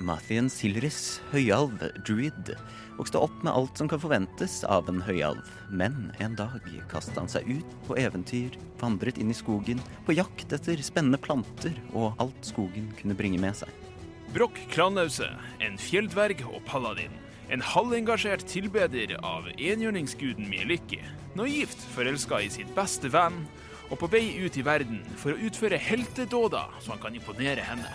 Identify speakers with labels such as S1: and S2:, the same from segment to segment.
S1: Matthew Silris, høyalv, druid, vokste opp med alt som kan forventes av en høyalv. Men en dag kastet han seg ut på eventyr, vandret inn i skogen, på jakt etter spennende planter og alt skogen kunne bringe med seg.
S2: Brokk Klanause, en fjelldverg og paladin. En halvengasjert tilbeder av enhjørningsguden Mieliki. Naivt forelska i sitt beste venn, og på vei ut i verden for å utføre heltedåder så han kan imponere henne.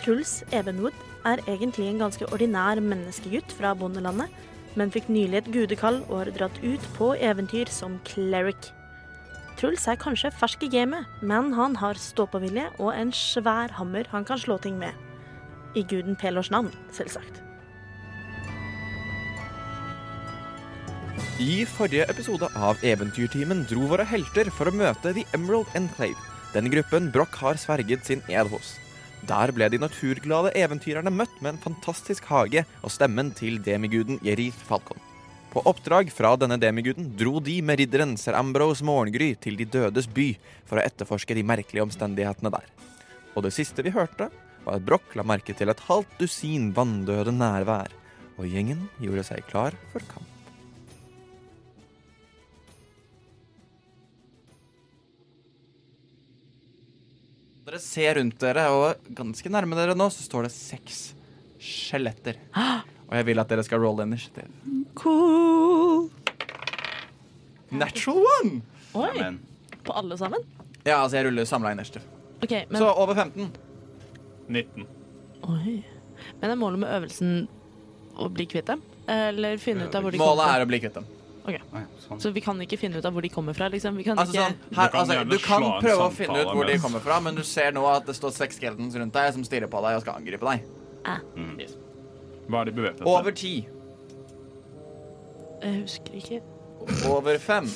S3: Truls Evenwood er egentlig en ganske ordinær menneskegutt fra bondelandet, men fikk nylig et gudekall og har dratt ut på eventyr som cleric. Truls er kanskje fersk i gamet, men han har ståpåvilje og en svær hammer han kan slå ting med. I guden Pelors navn, selvsagt.
S4: I forrige episode av Eventyrtimen dro våre helter for å møte The Emerald Enclave, den gruppen Broch har sverget sin ed hos. Der ble de naturglade eventyrerne møtt med en fantastisk hage og stemmen til demiguden Jerith Falcon. På oppdrag fra denne demiguden dro de med ridderen Sir Ambrose Morgengry til De dødes by for å etterforske de merkelige omstendighetene der. Og det siste vi hørte, var at Broch la merke til et halvt dusin vanndøde nærvær, og gjengen gjorde seg klar for kamp.
S5: Dere ser rundt dere, og ganske nærme dere nå så står det seks skjeletter. Og jeg vil at dere skal rolle initiativ.
S3: Cool!
S5: Natural one!
S3: Oi!
S1: Men
S3: På alle sammen?
S5: Ja, altså jeg ruller samla initiativ.
S6: Ok, men,
S5: Så over 15.
S2: 19.
S6: oi. men er målet med øvelsen å bli kvitt dem? Eller finne ut av hvor de
S5: Målet
S6: kommer fra?
S5: er å bli kvitt dem.
S1: Å ja, sånn.
S6: Så vi kan ikke finne ut av hvor de kommer fra? Liksom. Vi kan
S5: Altså,
S6: ikke...
S5: sånn, her,
S2: Du kan
S5: altså,
S2: gjerne
S5: du kan
S2: slå en
S5: prøve å
S2: samtale
S5: finne ut hvor de
S2: mens-
S5: kommer fra, men du ser nå at det står seks skeletons rundt deg som stirrer på deg og skal angripe deg.
S2: Hva er de bevæpnet med?
S5: Over ti.
S6: Jeg husker ikke.
S5: Over fem.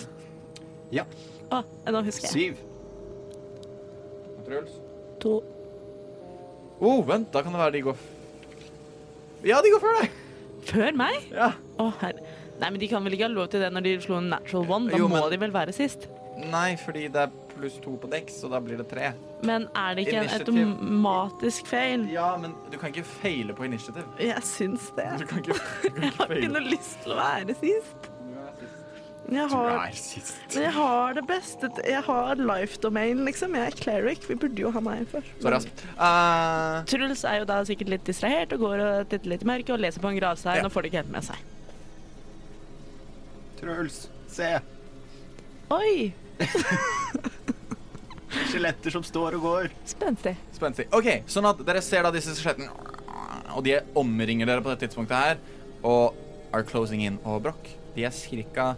S6: Å, nå husker jeg.
S1: Syv.
S5: Truls.
S6: To.
S5: Oh, vent, da kan det være de går f- Ja, de går før deg.
S6: Før meg?
S5: Ja.
S6: Å, herre. Nei, men de kan vel ikke ha lov til det når de slo en natural one? Da
S5: Jo,
S6: må
S5: men-
S6: de vel være sist?
S5: Nei, fordi det er pluss to på dekk, så da blir det tre.
S6: Men er det ikke en
S5: Initiativ.
S6: automatisk feil?
S5: Ja, men du kan ikke feile på initiativ.
S6: Jeg syns det.
S5: Du kan ikke, du kan
S6: Jeg
S5: ikke
S6: har ikke
S5: feile.
S6: noe lyst til å være sist.
S5: Du er sist.
S7: Jeg har,
S2: er sist.
S7: men jeg har det beste t- Jeg har life domain, liksom. Jeg er cleric. Vi burde jo ha meg først.
S5: Sorry, ass. Eh,
S6: Truls er jo da sikkert litt distrahert og går og titter litt i mørket og leser på en gravstein
S5: Ja.
S6: og får det ikke helt med seg.
S8: Truls, se!
S6: Oi!
S8: Skjeletter som står og går.
S6: Spenstig.
S5: Spenstig. OK, sånn at dere ser da disse skjelettene, og de omringer dere på dette tidspunktet her, og are closing in. Og Broch, de er cirka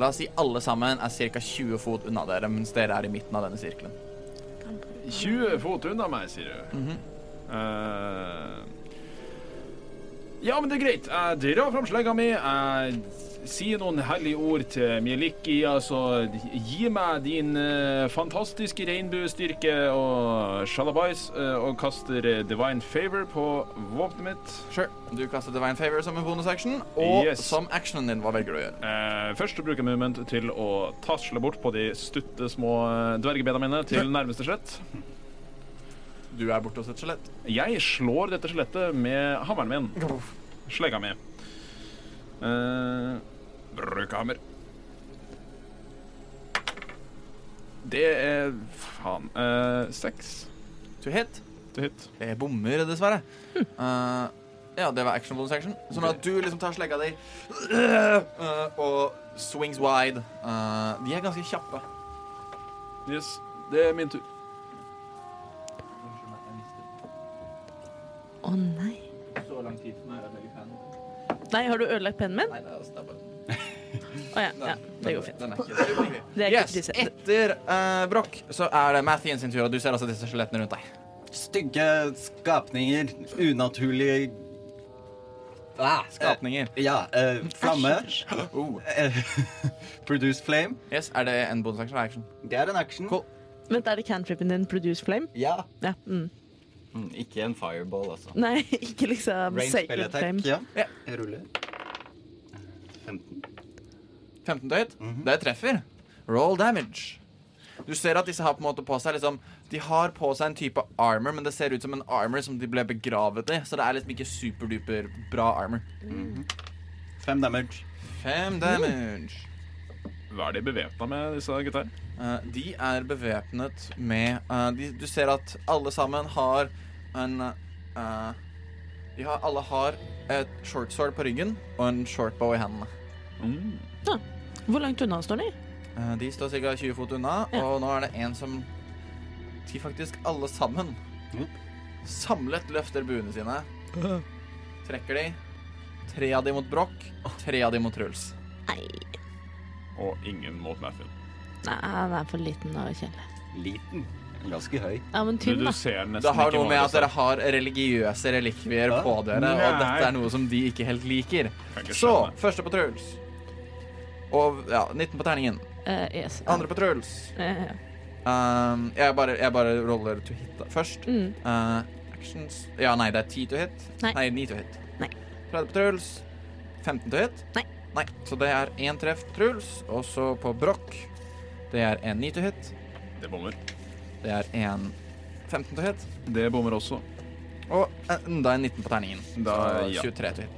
S5: La oss si alle sammen er ca. 20 fot unna dere, mens dere er i midten av denne sirkelen.
S2: 20 fot unna meg, sier du. Eh, ja, men det er greit. Jeg drar fram slegga mi. Jeg sier noen hellige ord til Mieliki. Altså, gi meg din eh, fantastiske regnbuestyrke og shalabais, eh, og kaster eh, divine favor på våpenet mitt.
S5: Sure. Du kastet Divine Favor som en bonusaction, og
S2: Yes.
S5: som actionen din, hva velger du å gjøre?
S2: Eh, først bruker jeg movement til å tasle bort på de stutte små eh, dvergebena mine til nærmeste skjelett.
S5: Du er borte hos et skjelett.
S2: Jeg slår dette skjelettet med hammeren min. Slegga mi. Uh, Bruker hammer. Det er faen eh, seks
S5: To hit.
S2: til hit.
S5: Det bommer, dessverre. Eh, ja, det var action bonus action. Sånn at du liksom tar slegga di eh, og swings wide. Eh, de er ganske kjappe.
S2: Yes, det er min tur.
S6: Å nei. Nei, har du ødelagt pennen min?
S5: Nei, det er altså- det er bare-
S6: Å ja, ja. Det går fint.
S5: Den er ikke
S6: Det er ikke
S5: Yes,
S6: priset.
S5: etter uh, Broch så er det Mathien sin tur, og du ser altså disse skjelettene rundt deg.
S8: Stygge skapninger. Unaturlige ah,
S5: Skapninger.
S8: eh, Ja. eh, flamme.
S5: Oh.
S8: Eh, Produce flame.
S5: Yes, er det en bonus action eller action?
S8: Det er en action.
S5: Cool.
S6: Vent, er det cantripen din produce flame?
S8: Ja.
S6: Ja. Mm.
S8: Mm, Ikke en fireball, altså.
S6: Nei, ikke liksom
S8: Range spell
S6: sacred
S8: attack.
S6: flame.
S8: Ja.
S5: Ja.
S8: Jeg ruller. 15.
S1: Mhm.
S5: 15 til hit. Det treffer. Roll damage. Du ser at disse har på en måte på seg liksom, De har på seg en type armor, men det ser ut som en armor som de ble begravet i. Så det er liksom ikke superduper bra armor.
S1: Mhm. Fem damage.
S5: Fem damage.
S9: Hva er de bevæpna med, disse gutta? her?
S5: Eh, de er bevæpnet med eh, de, Du ser at alle sammen har en eh, De har, alle har et short sword på ryggen og en shortbow i hendene.
S9: Mm.
S6: Hvor langt unna står de?
S5: Eh, De står ca. 20 fot unna,
S6: Ja.
S5: og nå er det en som De faktisk alle sammen
S1: Mm.
S5: samlet løfter buene sine. Trekker de. Tre av de mot Broch, tre av de mot Truls.
S6: Nei,
S9: Og ingen mot Matthew.
S6: nei, han er for liten og kjedelig.
S1: Liten. Ganske høy.
S6: Ja, men
S9: Du,
S6: tynn,
S9: du
S6: da.
S9: ser nesten
S5: Det har
S9: ikke
S5: noe med
S9: hva
S5: at
S9: det
S5: dere har religiøse relikvier
S1: Hæ?
S5: på dere, og
S9: Nei.
S5: dette er noe som de ikke helt liker.
S9: er. Kan ikke
S5: Så,
S9: skjønne.
S5: første på Truls. Og ja, 19 på terningen.
S6: Eh, yes. ja.
S5: Andre på Truls.
S6: Eh, ja.
S5: Um, jeg, bare, jeg bare roller to hit da. først.
S6: mm.
S5: Uh, actions Ja, nei, det er 10 to hit.
S6: Nei.
S5: 9 to hit.
S6: Nei.
S5: 30 på Truls. 15 to hit.
S6: Nei.
S5: nei. Så det er én treff på Truls, og så på Broch. Det er en 9 to hit.
S9: Det bommer.
S5: Det er en 15 to hit.
S9: Det bommer også.
S5: Og enda en 19 på terningen. Da
S9: Da- ja.
S5: 23 to hit.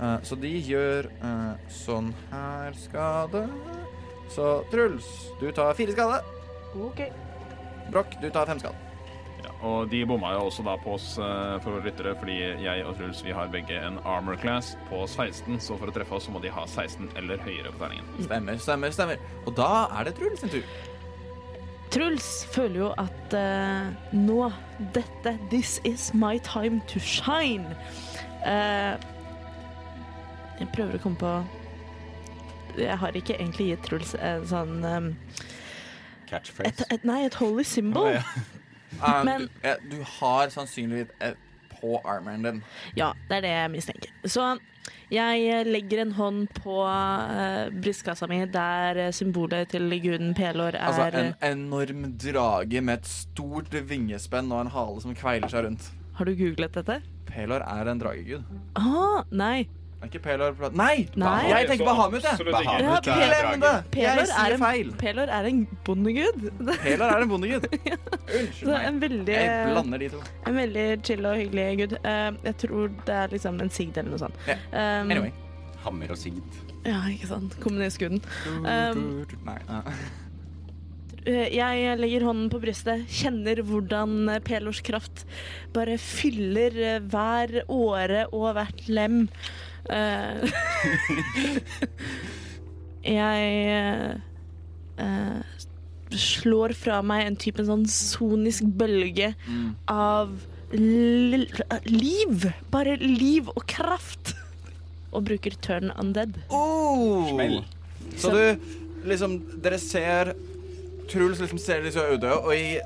S5: Eh, så de gjør eh, sånn her skade. Så Truls, du tar fire skade.
S7: OK.
S5: Broch, du tar fem skade.
S9: Ja, og de bomma jo også da på oss eh, for våre lyttere, fordi jeg og Truls vi har begge en armor class på 16, så for å treffe oss så må de ha 16 eller høyere på
S6: Mm.
S9: terningen.
S5: Stemmer, stemmer, stemmer. Og da er det Truls sin tur.
S6: Truls føler jo at eh, nå Dette This is my time to shine. Eh, jeg prøver å komme på Jeg har ikke egentlig gitt Truls en sånn eh, et,
S1: Catchphrase.
S6: et, Nei, et holy symbol.
S1: Å, ja.
S5: Eh,
S6: Men-
S5: du, eh, du har sannsynligvis et på armoren din.
S6: Ja, det er det jeg mistenker. Så jeg eh, legger en hånd på eh, brystkassa mi, der eh, symbolet til guden Pelor er eh,
S5: Altså en enorm drage med et stort vingespenn og en hale som kveiler seg rundt.
S6: Har du googlet dette?
S5: Pelor er en dragegud.
S6: Ah, nei.
S5: Er ikke Pelor pla- Nei!
S6: Nei.
S5: Jeg tenker Bahamut, jeg.
S9: Absolutt ikke.
S6: Ja,
S1: Bahamut er
S6: Pelor-
S1: dragen.
S5: Glem det!
S6: Pelor
S5: Jeg
S6: er
S5: sier feil.
S6: en, Pelor er en bondegud. Det
S5: Pelor er en bondegud. Unnskyld
S6: er
S5: meg.
S6: en veldig,
S5: Jeg blander de to.
S6: en veldig chill og hyggelig gud. Eh, jeg tror det er liksom en sigd eller noe sånt.
S5: Ja.
S6: Um,
S5: Anyway.
S1: Hammer og sigd.
S6: Ja, ikke sant. Kommunistguden. Um,
S5: Nei.
S6: Eh, Jeg legger hånden på brystet, kjenner hvordan eh, Pelors kraft bare fyller eh, hver åre og hvert lem. Eh, jeg eh, eh, slår fra meg en type sånn sonisk bølge
S5: Mm.
S6: av l liv. Bare liv og kraft. Og bruker turn undead.
S5: Oh.
S1: Smell.
S5: Så du liksom Dere ser Truls liksom ser de så øde, og i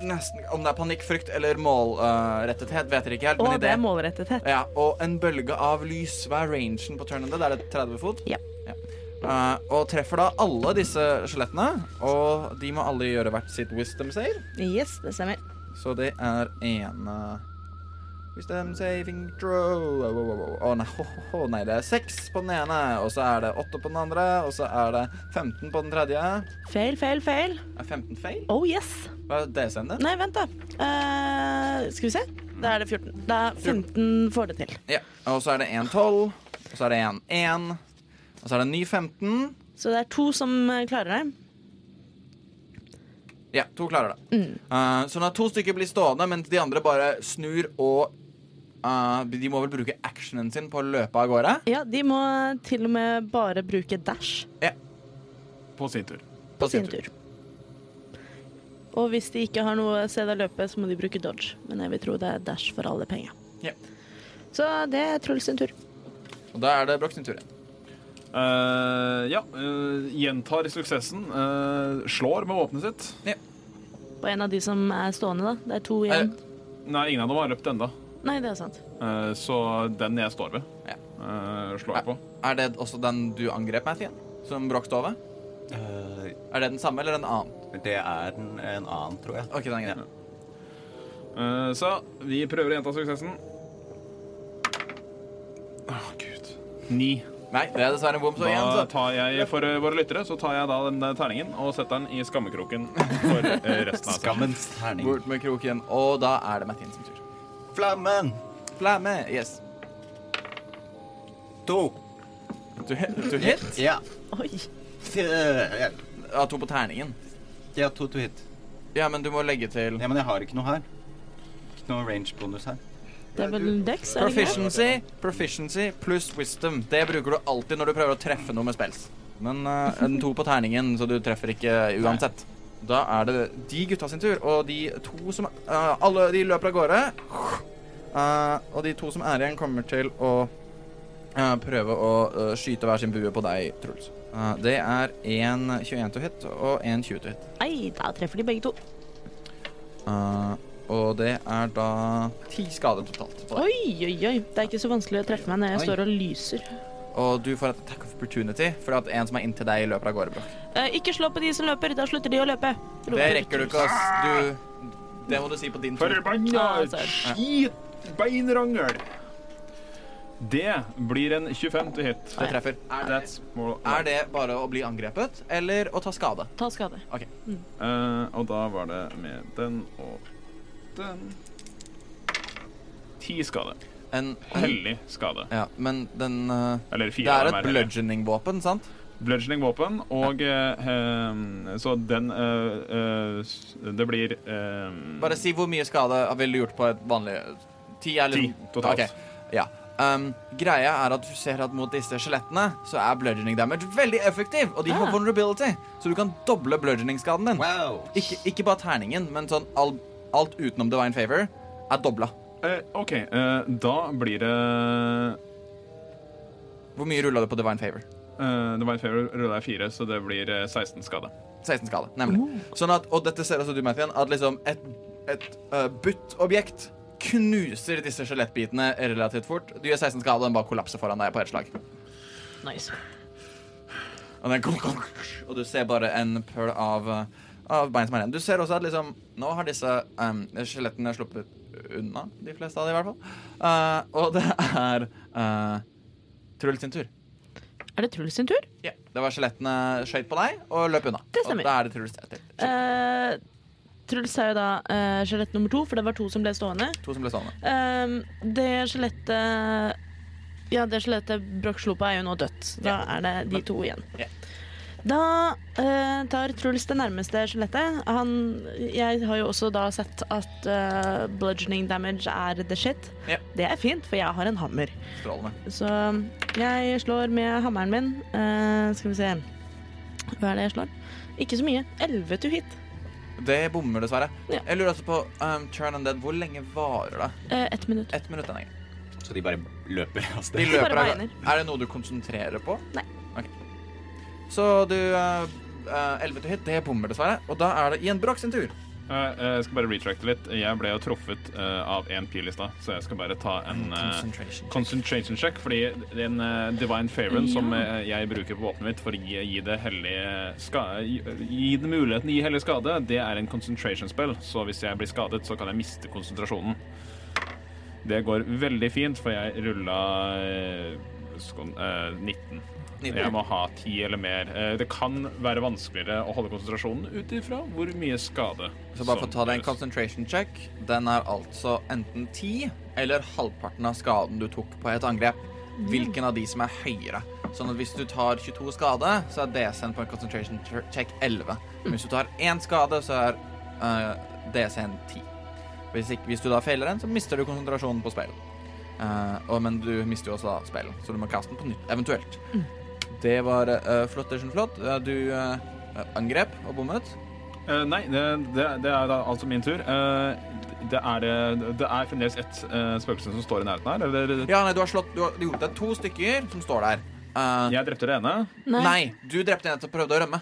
S5: nesten Om det er panikk, frykt eller målrettethet, vet dere ikke helt.
S6: Og
S5: men i
S6: det er målrettethet.
S5: Ja, og en bølge av lys. Hva er rangen på turnen? Det er det 30 fot?
S6: Ja.
S5: Eh, og treffer da alle disse skjelettene. Og de må alle gjøre hvert sitt wisdom save.
S6: Yes, det stemmer.
S5: Så det er eh, ene Wisdom saving throw oh, Å nei, ho, ho, ho, nei, det er seks på den ene, og så er det åtte på den andre, og så er det 15 på den tredje.
S6: Feil, feil, feil.
S5: Er 15 feil?
S6: Oh yes.
S5: Hva er DC-en din?
S6: Nei, vent da. Eh, skal vi se. Da er det 14. Da er 15 får det til.
S5: Ja. Og så er det en 12, og så er det en 1, og så er det en ny 15.
S6: Så det er to som eh, klarer det.
S5: Ja, to klarer det.
S6: Mm.
S5: Eh, sånn at to stykker blir stående, mens de andre bare snur og eh, De må vel bruke actionen sin på å løpe av gårde?
S6: Ja, de må til og med bare bruke dash
S9: På sin tur.
S6: på sin tur. Og hvis de ikke har noe sted å løpe, så må de bruke dodge. Men jeg vil tro det er dash for alle penga.
S5: Ja.
S6: Så det er Truls sin tur.
S5: Og da er det Broch sin tur igjen.
S9: Eh, ja, eh, gjentar suksessen. eh, slår med våpenet sitt.
S6: På en av de som er stående, da. Det er to igjen.
S9: Nei, ingen av dem har løpt ennå,
S6: Nei, det er sant.
S9: Eh, så den jeg står ved,
S5: Ja.
S9: eh, slår jeg på.
S5: Er det også den du angrep, Mathien? Som Broch står ved?
S1: Eh,
S5: Er det den samme eller en annen?
S1: det er en, en annen, tror jeg.
S5: Ok, den er grei.
S9: Eh, så vi prøver å gjenta suksessen. Å, gud. Ni.
S5: Nei, det er dessverre en bom. Så igjen,
S9: Da
S5: så
S9: tar jeg, for eh, våre lyttere, så tar jeg da den eh, terningen og setter den i skammekroken for eh, resten av seg.
S1: Skammens terning.
S5: bort med kroken. Og da er det Mattin sin tur.
S1: Flammen!
S5: Flamme. Yes.
S1: To.
S5: Du, du hit?
S1: Ja.
S6: Oi.
S1: Eh,
S5: Ja, to på terningen.
S1: Ja, to to hit.
S5: Ja, men du må legge til
S1: Ja, men jeg har ikke noe her. Ikke noe range-bonus her.
S6: Det er vel en dex, er det ikke?
S5: Proficiency, proficiency pluss wisdom. Det bruker du alltid når du prøver å treffe noe med spells. Men eh, en to på terningen, så du treffer ikke uansett. Da er det de gutta sin tur, og de to som eh, Alle de løper av gårde. Eh, og de to som er igjen, kommer til å eh, prøve å eh, skyte hver sin bue på deg, Truls. Eh, det er en 21 to hit og en 20 to hit.
S6: Nei, da treffer de begge to.
S5: Eh, og det er da ti skader totalt. på deg.
S6: Oi, oi, oi. Det er ikke så vanskelig å treffe meg når jeg
S5: Oi.
S6: står og lyser.
S5: Og du får et attack of opportunity fordi at en som er inntil deg, løper av gårde. Brokk.
S6: Eh, ikke slå på de som løper, da slutter de å løpe.
S5: Det rekker du ikke, ass. Du, det må du si på din tur.
S6: Ah,
S5: altså.
S9: Forbanna
S6: sorry.
S9: skitbeinrangel! Det blir en 25 til hit.
S5: Det treffer. Er det,
S9: That's more
S5: er det bare å bli angrepet eller å ta skade?
S6: Ta skade.
S9: Eh, og da var det med den og den Ti skade.
S5: En,
S9: Hellig skade.
S5: ja, men den eh,
S9: Eller fire
S5: Det er
S9: av dem
S5: et
S9: er hellige.
S5: bludgeoning-våpen, sant?
S9: Bludgeoning våpen, og eh, eh, Så den eh, eh, s- Det blir eh,
S5: Bare si hvor mye skade ville du gjort på et vanlig Ti eller
S9: Ti totalt.
S5: Ok, Ja. Um, greia er at du ser at mot disse skjelettene så er bludgeoning damage veldig effektiv, og de har
S6: Ah.
S5: vulnerability, så du kan doble bludgeoning-skaden din.
S1: Wow!
S5: Ikke, ikke bare terningen, men sånn all, alt utenom divine favor er dobla.
S9: Eh, OK, eh, da blir det
S5: Hvor mye rulla du på divine favor?
S9: eh, Det var en favor, rulla jeg fire, så det blir eh, 16 skade.
S5: 16 skade, nemlig. Sånn at, og dette ser altså du, Mathien, at liksom et, et uh, butt-objekt knuser disse skjelettbitene relativt fort. Du gjør 16 skade, og den bare kollapser foran deg på ett slag.
S6: Nice.
S5: Og, den klunk, klunk, og du ser bare en pøl av, eh, av bein som er igjen. Du ser også at liksom, nå har disse em, skjelettene sluppet unna, de fleste av dem i hvert fall. Eh, og det er uh, Truls sin tur.
S6: Er det Truls sin tur?
S5: Ja, Det var skjelettene skøyt på deg og løp unna.
S6: Det stemmer.
S5: Og da er det Truls etter.
S6: Eh, Truls er jo da eh, skjelett nummer to, for det var to som ble stående.
S5: To som ble stående.
S6: Ehm, det skjelettet Ja, det skjelettet Broch slo på, er jo nå dødt. Da er det de to igjen.
S5: Ja.
S6: Da eh, tar Truls det nærmeste skjelettet. Han Jeg har jo også da sett at eh, bludgeoning damage er the shit.
S5: Ja.
S6: Det er fint, for jeg har en hammer.
S5: Strålende.
S6: Så um, jeg slår med hammeren min. Eh, skal vi se Hva er det jeg slår? Ikke så mye. 11 to hit.
S5: Det bommer, dessverre.
S6: Ja.
S5: Jeg lurer også på um, Turn and Dead. Hvor lenge varer det?
S6: Eh, Ett minutt.
S5: Ett minutt denne gangen.
S1: Så de bare løper av
S5: De
S1: sted.
S5: løper
S6: bare
S5: av
S6: beiner.
S5: Er det noe du konsentrerer på?
S6: Nei.
S5: Ok. Så du uh, uh, 11 til hit, det bommer dessverre. Og da er det igjen Broch sin tur.
S9: Eh, eh, jeg skal bare retracte litt. Jeg ble jo truffet eh, av én pil i stad, så jeg skal bare ta en eh,
S5: Concentration.
S9: Concentration check, fordi den eh, divine favoren som eh, jeg bruker på våpenet mitt for å gi, gi det hellige ska gi, gi det muligheten til å gi hellig skade, det er en concentration spell, så hvis jeg blir skadet, så kan jeg miste konsentrasjonen. Det går veldig fint, for jeg rulla eh, 19.
S5: 19.
S9: Jeg må ha 10 eller mer. Eh, Det kan være vanskeligere å holde konsentrasjonen ut ifra hvor mye skade
S5: Så bare få
S9: som
S5: ta deg en
S9: gjøres.
S5: concentration check. Den er altså enten 10 eller halvparten av skaden du tok på et angrep. Hvilken av de som er høyere. Sånn at hvis du tar 22 skade, så er DC-en på en concentration tr- check 11. Men hvis du tar én skade, så er eh, DC-en 10. Hvis, ikke, hvis du da feiler den, så mister du konsentrasjonen på speilet. Eh, og, men du mister jo også da speilet, så du må kaste den på nytt, eventuelt. Det var uh, flottersen flott. Eh, du eh, angrep og bommet.
S9: Eh, nei, det, det, det er da altså min tur. Eh, det, er, eh, det er fremdeles ett eh, spøkelse som står i nærheten her. Eller,
S5: Ja, nei, du har slått Du har gjort deg to stykker som står der. Eh,
S9: Jeg drepte det ene.
S5: nei. du drepte en som prøvde å rømme.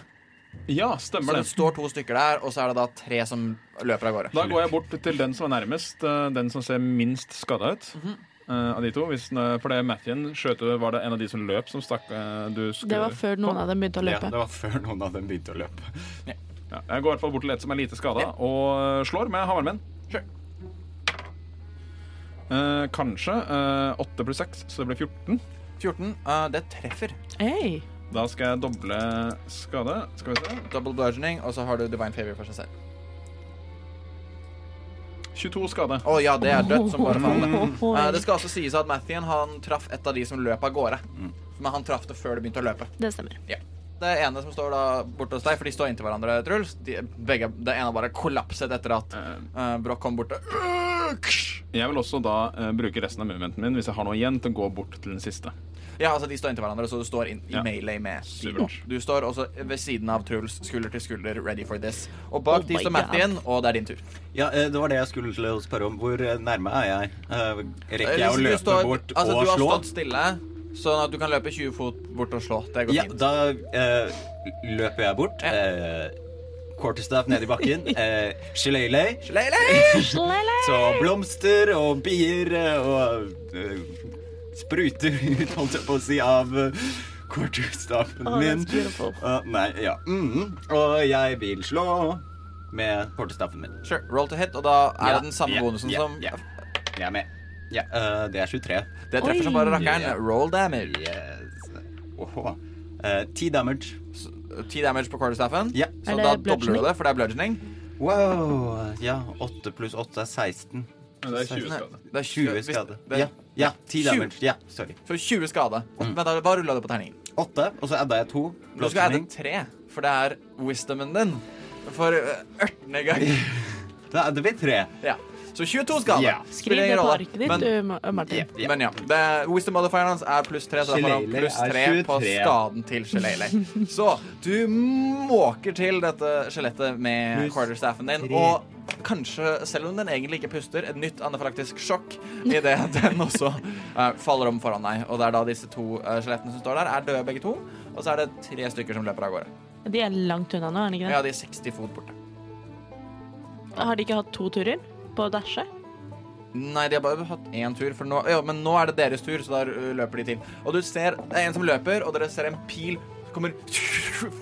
S9: Ja,
S5: Så
S9: stemmer
S5: det
S9: det.
S5: står to stykker der, og så er det da tre som løper av gårde.
S9: Da går jeg bort til den som er nærmest. eh, den som ser minst skada ut.
S6: Mhm.
S9: eh, av de to, hvis, den, eh, For det Mathien skjøt jo- Var det en av de som løp, som stakk eh, du sk-
S6: Det var før noen av dem begynte å
S1: Ja,
S6: løpe.
S1: det var før noen av dem begynte å løpe.
S9: Ja, jeg går i hvert fall bort til et som er lite skada, og eh, slår med hammeren min.
S5: Sure.
S9: Eh, kanskje. eh, Åtte pluss seks, så det blir 14.
S5: 14. eh, det treffer.
S6: Hey.
S9: Da skal jeg doble skade. Skal vi se.
S5: Double bludgeoning, og så har du divine favor for seg selv.
S9: 22 skade.
S5: Å ja, det er dødt som bare faen. det.
S6: Oi.
S5: Eh, det skal også sies at Mathien han traff et av de som løp av gårde.
S9: Mm.
S5: Men han traff det før det begynte å løpe.
S6: Det stemmer.
S5: Det ene som står da borte hos deg, for de står inntil hverandre, Truls de, begge, Det ene bare kollapset etter at
S9: Eh,
S5: eh, Broch kom bort og
S9: Jeg vil også da eh, bruke resten av movementen min hvis jeg har noe igjen, til å gå bort til den siste.
S5: Ja, altså, de står inntil hverandre, så du står inn, i
S9: Ja.
S5: melee med
S9: Supert.
S5: Du står også ved siden av Truls, skulder til skulder, ready for this. Og bak
S1: Oh
S5: de
S6: my
S5: står Mathien, og det er din tur.
S1: Ja, eh, det var det jeg skulle til å spørre om. Hvor eh, nærme er jeg? Eh, Rekker jeg å
S5: Du
S1: løpe
S5: står-
S1: bort
S5: altså,
S1: og
S5: Du har
S1: slå?
S5: stått stille, sånn at du kan løpe 20 fot bort og slå. Det går
S1: Ja,
S5: fint.
S1: da eh, løper jeg bort.
S5: Ja.
S1: Eh, quarterstaff ned i bakken. Eh, Shillelagh.
S6: Slele!
S1: Så blomster og bier eh, og eh, spruter ut, holdt jeg på å si, av eh, quarterstaffen
S10: Oh,
S1: min.
S10: that's beautiful.
S1: Ah, nei, ja. mhm. Og jeg vil slå med quarterstaffen min.
S5: Sure. Roll to hit, og da
S1: Ja,
S5: er det den samme
S1: ja,
S5: bonusen
S1: ja,
S5: som
S1: ja. Jeg er med. Ja, eh, det er 23.
S5: Det treffer som
S6: Oi.
S5: bare rakkeren.
S1: Ja.
S5: Roll damage.
S1: Yes. Åhå. Eh, 10 damage.
S5: 10 damage på quarterstaffen.
S1: Ja.
S5: Så
S6: Er det
S5: da dobler du
S6: bludgeoning?
S5: det, for det er bludgeoning.
S1: Wow. Ja, 8 pluss 8 er 16.
S9: Men Det er 20 skade.
S5: Det er
S1: 20
S5: hvis-
S1: skade.
S5: det er-
S1: Ja, ja 10
S5: 20.
S1: damage. Ja, sorry.
S5: Så 20 skade.
S1: Mm.
S5: Vent, da, hva rulla du på terningen?
S1: 8, og så adda jeg 2.
S5: Du skal adde 3, for det er wisdomen din. For eh, ørtende gang.
S1: Da adder vi 3.
S5: Ja. Så 22 skade.
S1: Ja.
S6: Skriv
S5: Spiller
S6: det
S5: ingen
S6: på
S5: rolle.
S6: arket ditt,
S5: Men,
S6: du, Ma- Martin.
S5: men ja. Det, er- wisdom modifieren hans er pluss 3, så derfor har han
S1: Shillelagh
S5: pluss
S1: er
S5: 3 på
S1: 23.
S5: skaden til Shillelagh. Så du måker til dette skjelettet med
S1: Pluss
S5: quarterstaffen din,
S1: tre.
S5: og kanskje, selv om den egentlig ikke puster, et nytt anafylaktisk sjokk idet den også eh, faller om foran deg. Og det er da disse to eh, skjelettene som står der, er døde begge to, og så er det tre stykker som løper av gårde.
S6: De er langt unna nå, er de ikke
S5: Ja,
S6: det?
S5: de er 60 fot borte.
S6: Har de ikke hatt to turer på å dashe?
S5: Nei, de har bare hatt én tur, for nå, ja, men nå er det deres tur, så da ø, løper de til. Og du ser det er en som løper, og dere ser en pil som kommer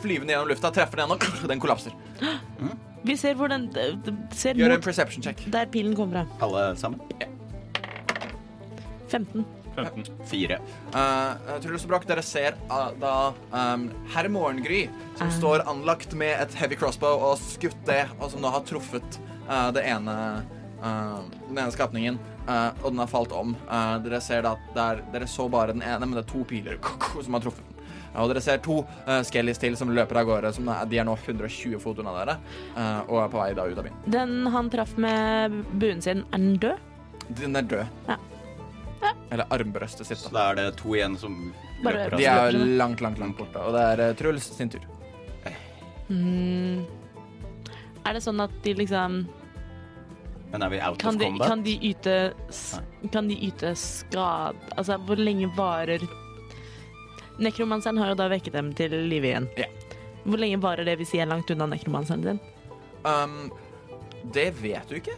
S5: flyvende gjennom lufta, treffer den, og den kollapser.
S6: Vi ser hvor den d- d- ser
S5: Gjør en
S6: mot
S5: perception check.
S6: der pilen kommer fra.
S1: Alle sammen.
S6: 15.
S9: 15.
S1: 4.
S5: Eh, Truls og Broch, dere ser ah, da um, herr Morgengry, som står anlagt med et heavy crossbow og har skutt det, og som nå har truffet eh, det ene eh, den ene skapningen, eh, og den har falt om. Eh, dere ser da at det er, dere så bare den ene, men det er to piler som har truffet den. Ja, Og dere ser to uh, skellies til som løper av gårde. Som er, de er nå 120 fot unna dere eh, og er på vei da ut av byen.
S6: Den han traff med buen sin, er den død?
S5: Den er død.
S6: Ja.
S5: Eller armbrøstet sitt.
S1: Så
S5: da.
S1: da er det to igjen som
S6: Bare-
S1: løper.
S5: De er langt, langt, langt borte. Og det er eh, Truls sin tur.
S6: Mm. Er det sånn at de liksom
S1: Men er vi out
S6: Kan
S1: of
S6: de,
S1: combat?
S6: kan de yte s- Kan de yte skade Altså, hvor lenge varer Nekromanseren har jo da vekket dem til live igjen.
S5: Ja.
S6: Hvor lenge varer det hvis de er langt unna nekromanseren din?
S5: Um, det vet du ikke.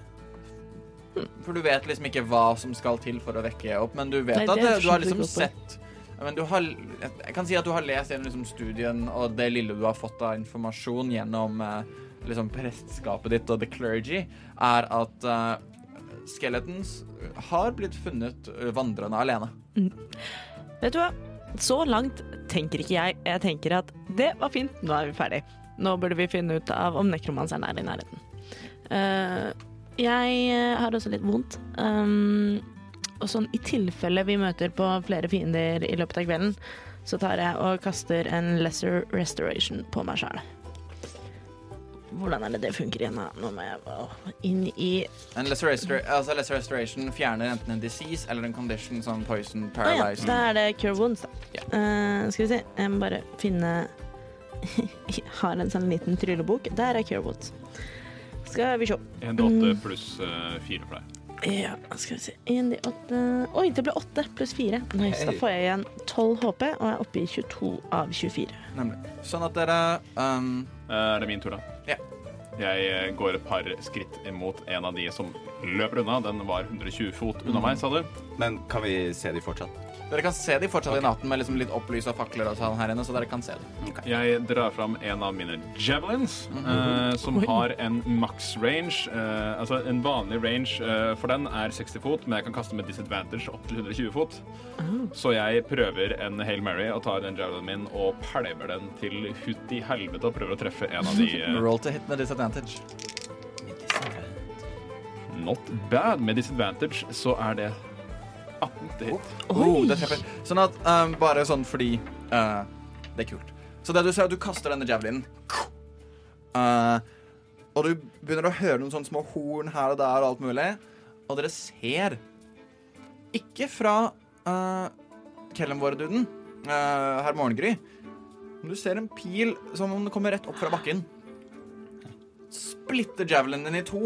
S5: For du vet liksom ikke hva som skal til for å vekke opp, men du vet
S6: Nei, det
S5: at det,
S6: er
S5: du har
S6: skikkelig
S5: liksom
S6: godt poeng.
S5: sett men du har, Jeg kan si at du har lest gjennom liksom studien og det lille du har fått av informasjon gjennom eh, liksom presteskapet ditt og the clergy, er at eh, skeletons har blitt funnet eh, vandrende alene.
S6: Vet du hva? Så langt tenker ikke jeg. Jeg tenker at det var fint, nå er vi ferdig. Nå burde vi finne ut av om nekromanseren er i nærheten. Eh, jeg eh, har også litt vondt. Um, og sånn i tilfelle vi møter på flere fiender i løpet av kvelden, så tar jeg og kaster en lesser restoration på meg sjæl. Hvordan er det det funker igjen? da? Nå må jeg åh, inn i
S5: En lesser, restor- altså lesser restoration fjerner enten en disease eller en condition som
S6: Å
S5: poison,
S6: ja,
S5: paralyzed
S6: da er det Cure Wounds, da.
S5: Ja.
S6: Eh, skal vi se, jeg må bare finne Jeg har en sånn liten tryllebok. Der er Cure Wounds. Skal vi se.
S9: 1-8 pluss 4 for deg.
S6: Ja, skal vi se. En, de åtte Oi, det ble åtte pluss fire. Nice, Da får jeg igjen 12 HP, og jeg er oppe i 22 av 24.
S5: Nemlig. Sånn at dere um,
S9: Eh, Er det min tur, da?
S5: Ja.
S9: Jeg eh, går et par skritt imot en av de som løper unna. Den var 120 fot unna meg, sa du.
S1: Men kan vi se de fortsatt?
S5: Dere kan se de fortsatt i natten med liksom litt opplysa fakler og sånn her inne, så dere kan se dem.
S9: Jeg drar fram en av mine javelins, eh, som har en max range. Eh, altså en vanlig range eh, for den er 60 fot, men jeg kan kaste med disadvantage opp til 120 fot. Så jeg prøver en Hail Mary og tar den javelinen min og pælmer den til hutt i helvete og prøver å treffe en av de. eh,
S5: Roll to hit med disadvantage.
S9: Not bad. Med disadvantage så er det 18 til hit.
S5: Oh, det treffer. Sånn at eh, Bare sånn fordi eh, Det er kult. Så det du ser, er at du kaster denne javelinen. Eh, og du begynner å høre noen sånne små horn her og der og alt mulig. Og dere ser Ikke fra uh, Kellemvårduden uh, herr Morgengry, men du ser en pil som om den kommer rett opp fra bakken. Splitter javelinen din i to.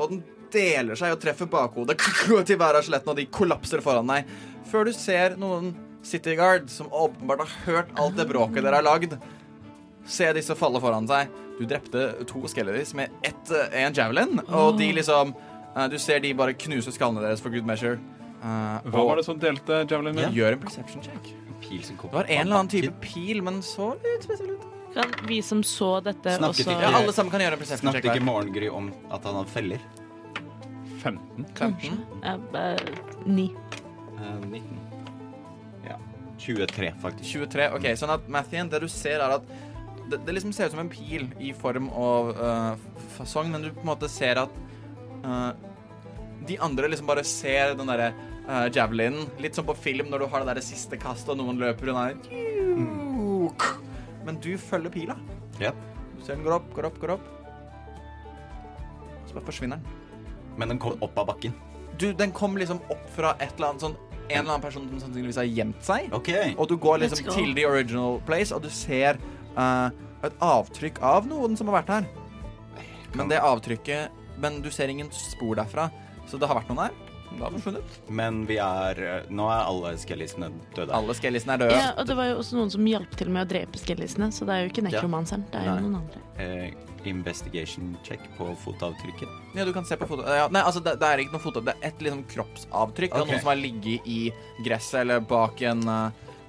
S5: Og den deler seg og treffer bakhodet til hver av skjelettene, og de kollapser foran deg. Før du ser noen City Guard, som åpenbart har hørt alt det bråket dere har lagd, se disse falle foran seg. Du drepte to skelettis med ett, eh, en javelin, og de liksom eh, Du ser de bare knuse skallene deres for good measure. Eh,
S9: Hva var det som delte javelinen min?
S5: Gjør en perception check.
S1: Pil som kom
S5: Det var en eller annen type pil, men så litt spesiell ut.
S6: Kan vi som så dette,
S1: Snakket
S6: også
S5: Ja, alle sammen kan gjøre en perception check.
S1: Snakket ikke
S5: hver.
S1: Morgengry om at han hadde feller?
S9: 15.
S6: Kanskje. Ja, eh, Ni.
S5: Eh,
S1: 19. Ja. 23, faktisk.
S5: 23. Ok, sånn at Mathien, det du ser er at det, det liksom ser ut som en pil i form av eh, fasong, men du på en måte ser at eh, de andre liksom bare ser den derre eh, javelinen, litt som på film når du har det derre siste kastet og noen løper unna. Men du følger pila.
S1: Ja.
S5: Du ser den går opp, går opp, går opp. Så bare forsvinner den.
S1: Men den kom opp av bakken.
S5: Du, den kom liksom opp fra et eller annet sånn En eller annen person som sannsynligvis har gjemt seg.
S1: OK.
S5: Og du går liksom
S6: Let's go.
S5: til the original place, og du ser eh, et avtrykk av noen som har vært her. Men det avtrykket Men du ser ingen spor derfra. Så det har vært noen her. Det har forsvunnet.
S1: Men vi er eh, Nå er alle skellisene døde.
S5: Alle skellisene er døde.
S6: Ja, og det var jo også noen som hjalp til med å drepe skellisene, så det er jo ikke nekromanseren. Det er jo
S1: Nei.
S6: noen andre.
S1: Eh, investigation check på fotavtrykket.
S5: Ja, du kan se på foto... Ja, nei, altså, det, det er ikke noe foto. Det er et liksom kroppsavtrykk av
S1: Ok.
S5: noen som har ligget i gresset eller bak en,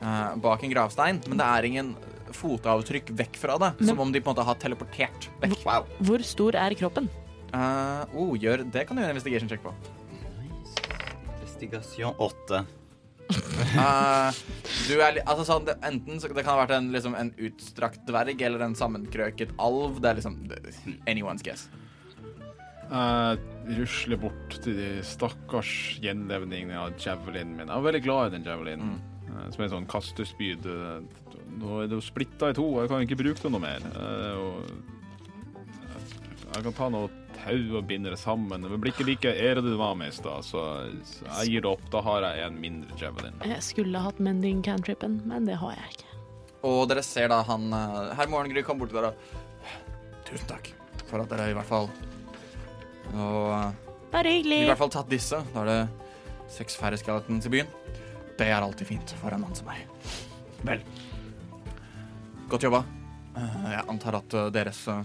S5: eh, bak en gravstein. Men det er ingen fotavtrykk vekk fra det.
S6: Men-
S5: Som om de på en måte har teleportert vekk. Wow.
S6: Hvor stor er kroppen?
S5: oh, gjør, det kan du gjøre en investigation check på.
S1: Investigation 8.
S5: Eh, du er li- altså sånn, det, Enten så, det kan ha vært en, liksom, en utstrakt dverg eller en sammenkrøket alv. Det er liksom det, anyone's guess.
S9: Jeg rusler Eh, bort til de stakkars gjenlevningene av javelinen min. Jeg var veldig glad i den javelinen. Eh, Som en sånn kastespyd. Eh, Nå er det jo splitta i to, og jeg kan ikke bruke det noe mer. Eh, Og jeg kan ta noe tau og binde det sammen. Men blir ikke like ære det var med i stad, så så jeg gir det opp. Da har jeg en mindre javelin.
S6: Jeg skulle hatt mending cantripen, men det har jeg ikke.
S5: Og dere ser da han eh, Herr Morgengry kom bort til dere og Tusen takk for at dere i hvert fall Og eh,
S6: Bare
S5: i
S6: hyggelig.
S5: hvert fall tatt disse. Da er det seks færre skeletons i byen. Det er alltid fint for en mann som meg. Vel. Godt jobba. Eh, Jeg antar at eh, deres eh,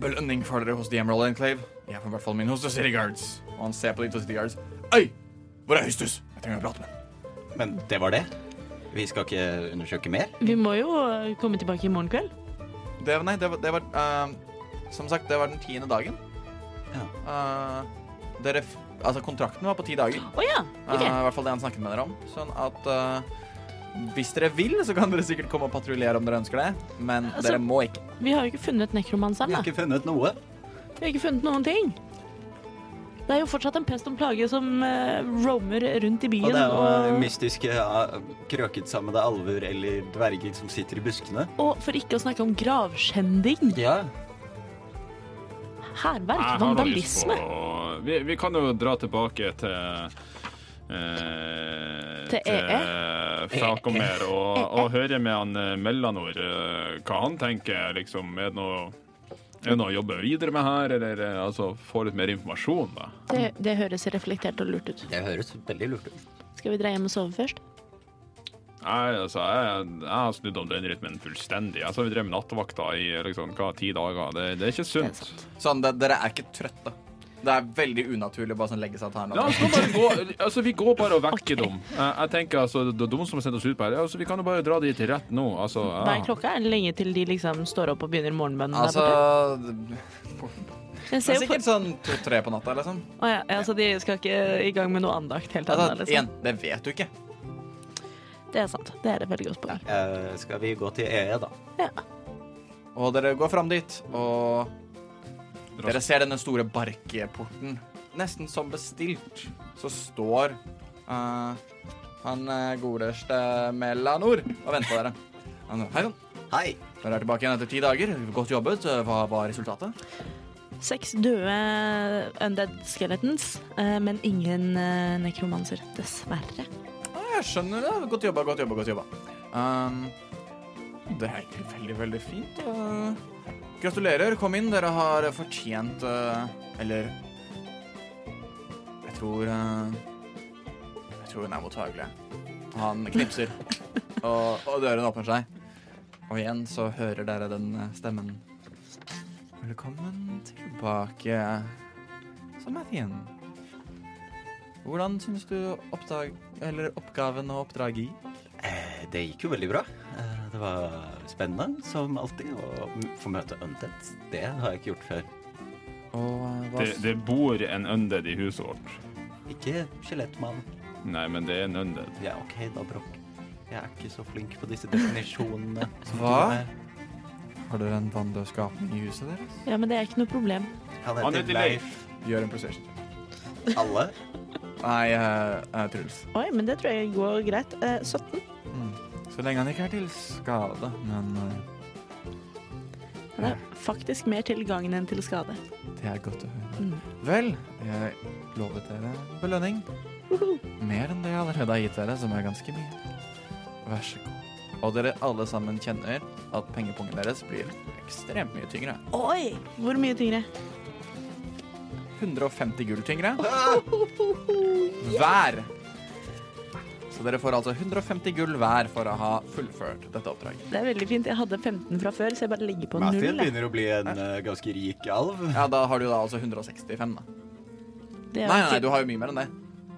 S5: belønning får dere hos The Emerald Enclave. Jeg får i hvert fall min hos The City Guards. Og han ser på de to City Guards. Oi! Hvor er Høystus? Jeg trenger å prate med ham.
S1: Men det var det. Vi skal ikke undersøke mer.
S6: Vi må jo eh, komme tilbake i morgen kveld.
S5: Det, nei, det var, det var eh, Som sagt, det var den tiende dagen. Eh, dere f Altså, kontrakten var på ti dager.
S6: Å ja, ok.
S5: Eh, I hvert fall det han snakket med dere om. Sånn at eh, hvis dere vil, så kan dere sikkert komme og patruljere om dere ønsker det. Men
S6: Altså-
S5: dere må ikke.
S6: Vi har jo ikke funnet nekromanseren,
S1: Vi
S6: da.
S1: har ikke funnet noe.
S6: Vi har ikke funnet noen ting. Det er jo fortsatt en pest og en plage som eh, roamer rundt i byen.
S1: Og det er jo eh,
S6: og-
S1: mystiske eh, krøketsammede alver eller dverger som sitter i buskene.
S6: Og for ikke å snakke om gravskjending,
S1: Ja.
S6: hærverk,
S9: Jeg har noe lyst
S6: vandalisme.
S9: på- Vi, vi kan jo dra tilbake til eh,
S6: Til
S9: til Falcomer og, og høre med han eh, Mellanor eh, hva han tenker. Liksom, er det noe er det noe å jobbe videre med her, eller eh, altså, få litt mer informasjon? da?
S6: Det, det høres reflektert og lurt ut.
S1: Det høres veldig lurt ut.
S6: Skal vi dra hjem og sove først?
S9: Jeg, altså, jeg, jeg har snudd om den rytmen fullstendig. Altså, vi drev med nattevakta i liksom, hva, ti dager. Det, det er ikke sunt.
S5: Sånn, det, dere er ikke trøtte. Det er veldig unaturlig å bare sånn legge seg og ta en
S9: La
S5: lapp.
S9: oss nå bare gå Altså, vi går bare og vekker dem. Eh, Jeg tenker altså, det er de som har sendt oss ut på her, ja, altså, vi kan jo bare dra dit rett nå. Altså, ja.
S6: Hva er klokka? Er det lenge til de liksom står opp og begynner morgenbønnen
S5: Altså
S6: der borte?
S5: Det
S6: Jeg ser
S5: er
S6: jo for...
S5: sikkert sånn to-tre på natta, liksom.
S6: Å ja, ja, så de skal ikke i gang med noe andakt helt ennå?
S5: Altså,
S6: Liksom.
S5: igjen, det vet du ikke.
S6: Det er sant. Det er et veldig godt poeng.
S1: Eh, skal vi gå til EE, da?
S5: Og dere går fram dit, og dere ser denne store barkeporten. Nesten som bestilt så står eh, han eh, godeste Melanor og venter på dere. Han, Hei sann,
S1: Hei.
S5: dere er tilbake igjen etter ti dager. Godt jobbet. Hva var resultatet?
S6: Seks døde undead skeletons, eh, men ingen eh, nekromanser, dessverre.
S5: «Ja, Jeg skjønner det. Godt jobba, godt jobba, godt jobba. Um, det er egentlig veldig, veldig fint. og gratulerer. Kom inn. Dere har fortjent eh, Eller Jeg tror eh, Jeg tror hun er mottagelig. Han knipser, og, og døren åpner seg. Og igjen så hører dere den eh, stemmen. Velkommen tilbake, eh, Samathian. Hvordan syns du oppdag... Eller oppgaven og oppdraget gikk?
S1: Eh, Det gikk jo veldig bra. Eh, Det var spennende, som alltid, å m- få møte Untet. Det har jeg ikke gjort før.
S5: Og eh, hva
S9: Det, det bor en undead i huset vårt.
S1: Ikke skjelettmann.
S9: Nei, men det er en undead.
S1: Ja, OK, da, Brokk. Jeg er ikke så flink på disse definisjonene. som du
S5: Hva?
S1: er.
S5: Har dere en vanndød skapning i huset deres?
S6: Ja, men det er ikke noe problem.
S1: Han
S9: Han
S1: heter
S9: heter
S1: Leif.
S5: Gjør en procession.
S1: Alle.
S5: Nei, eh, eh, Truls.
S6: Oi, men det tror jeg går greit. Eh, 17.
S5: Mm. Så lenge han ikke er til skade, men eh,
S6: Det er faktisk mer til gangen enn til skade.
S5: eh, det er godt å høre.
S6: Mm.
S5: Vel, jeg lovet dere belønning. Mer enn det jeg allerede har gitt dere, som er ganske mye. Vær så god. Og dere alle sammen kjenner at pengepungen deres blir ekstremt mye tyngre.
S6: Oi! Hvor mye tyngre?
S5: 150 gull tyngre. Hver. Så dere får altså 150 gull hver for å ha fullført dette oppdraget.
S6: Det er veldig fint. Jeg hadde 15 fra før, så jeg bare legger på null.
S1: Matthew
S6: jeg.
S1: begynner å bli en eh, ganske rik alv.
S5: Ja, da har du da altså 165, da.
S6: Det er jo
S5: Nei, nei,
S6: ikke-
S5: nei, du har jo mye mer enn det.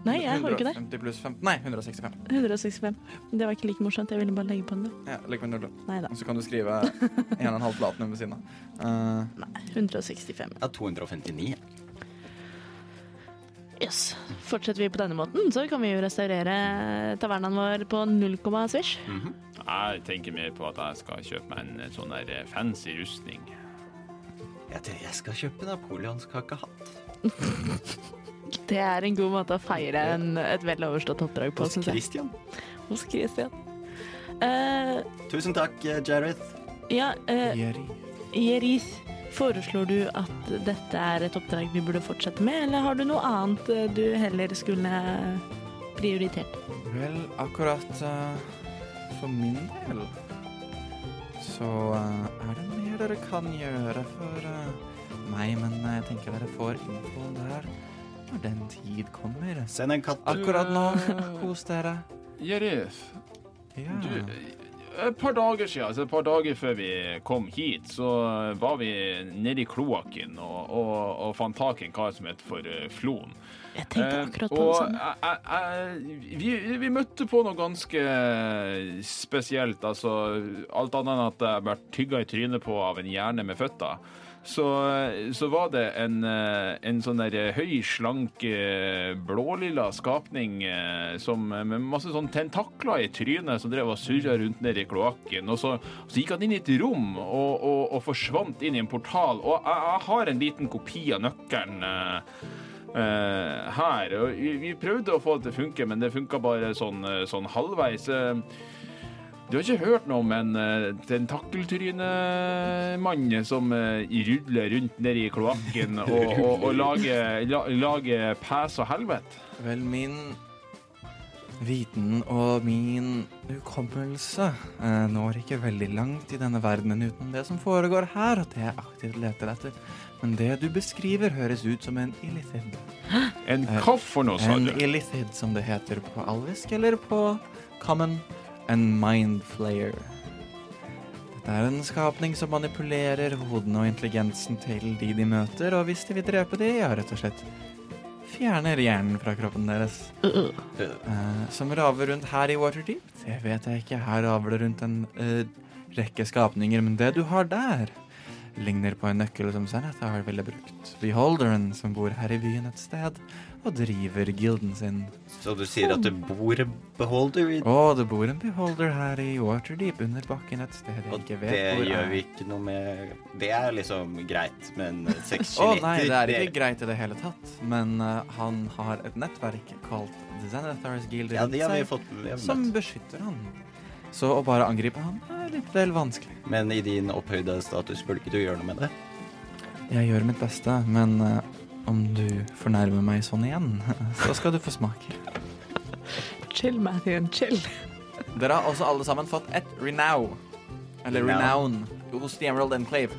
S6: Nei, jeg har jo ikke det.
S5: 150 pluss 15 Nei, 165.
S6: 165. Det var ikke like morsomt. Jeg ville bare legge på null.
S5: Ja, like med null. da.
S6: Nei da.
S5: Og så kan du skrive 1,5 platinum ved siden av. Eh,
S6: 165.
S1: Ja, 259.
S6: Yes. Fortsetter vi på denne måten, så kan vi jo restaurere tavernaen vår på null komma svisj.
S1: Mm.
S9: Jeg tenker mer på at jeg skal kjøpe meg en eh, sånn der eh, fancy rustning.
S1: Jeg, tror jeg skal kjøpe napoleonskakehatt.
S6: Det er en god måte å feire en, et vel overstått oppdrag på,
S1: Hos
S6: syns jeg.
S1: Christian.
S6: Hos Christian. Eh,
S1: Tusen takk, eh, Jareth.
S6: ja, eh,
S5: Jerry.
S6: Jerith, foreslår du at dette er et oppdrag vi burde fortsette med, eller har du noe annet eh, du heller skulle prioritert?
S5: Vel, akkurat eh, for min del så eh, er det mer dere kan gjøre for eh, meg, men jeg tenker dere får infoen der når den tid kommer.
S1: Send en katt.
S5: Akkurat nå, kos dere.
S9: Jerif,
S5: Ja.
S6: Mm.
S9: du eh, Et par dager siden, altså et par dager før vi kom hit, så eh, var vi nede i kloakken og, og, og fant tak i en kar som het for eh, Flon.
S6: Jeg tenkte
S9: Eh,
S6: akkurat på
S9: og
S6: det samme.
S9: jeg- jeg- jeg- vi, vi møtte på noe ganske spesielt. Altså, alt annet enn at jeg ble tygga i trynet på av en hjerne med føtter. Så, så var det en, eh, en sånn der høy, slank, eh, blålilla skapning eh, som, med masse sånn tentakler i trynet som drev og surra rundt nede i kloakken. Og så, så gikk han inn i et rom og, og, og forsvant inn i en portal. Og jeg, jeg har en liten kopi av nøkkelen. eh, eh, her. Og vi, vi prøvde å få det til å funke, men det funka bare sånn, eh, sånn halvveis. Eh, Du har ikke hørt noe om en eh, tentakeltrynemann som eh, rudler rundt nedi kloakken og, og, og lager, la, lager pes og helvete?
S5: Vel, min viten og min hukommelse eh, når ikke veldig langt i denne verdenen uten det som foregår her, og det jeg aktivt leter etter. Men det du beskriver, høres ut som en illithid.
S9: En hva for noe, sa
S5: En
S9: du?
S5: illithid, som det heter på alvisk, eller på common. En mindflayer. Det er en skapning som manipulerer hodene og intelligensen til de de møter, og hvis de vil drepe de, ja, rett og slett fjerner hjernen fra kroppen deres. Eh, som raver rundt her i Waterdeep? Det vet jeg ikke. Her raver det rundt en eh, rekke skapninger, men det du har der, ligner på en nøkkel som Zanatha har ville brukt. Beholderen, som bor her i byen et sted, og driver gilden sin.
S1: Så du sier at det bor en beholder i
S5: Å, det bor en beholder her i Waterdeep under bakken et sted jeg
S1: Og
S5: ikke
S1: det
S5: vet hvor
S1: gjør
S5: er.
S1: vi ikke noe med Det er liksom greit, men seks
S5: Å
S1: skjeletter
S5: nei, det er ikke greit i det hele tatt. Men eh, han har et nettverk kalt The Xanathars Guild
S1: Ja,
S5: rundt
S1: de har vi
S5: seg,
S1: fått vi har
S5: som
S1: møtt.
S5: beskytter han. Så å bare angripe han er litt vel vanskelig.
S1: Men i din opphøyde status burde ikke du gjøre noe med det?
S5: Jeg gjør mitt beste, men eh, om du fornærmer meg sånn igjen, så skal du få smake.
S6: Chill, Matthew. Chill.
S5: Dere har også alle sammen fått et renown, eller renown,
S1: Renown.
S5: hos The Emerald Enclave.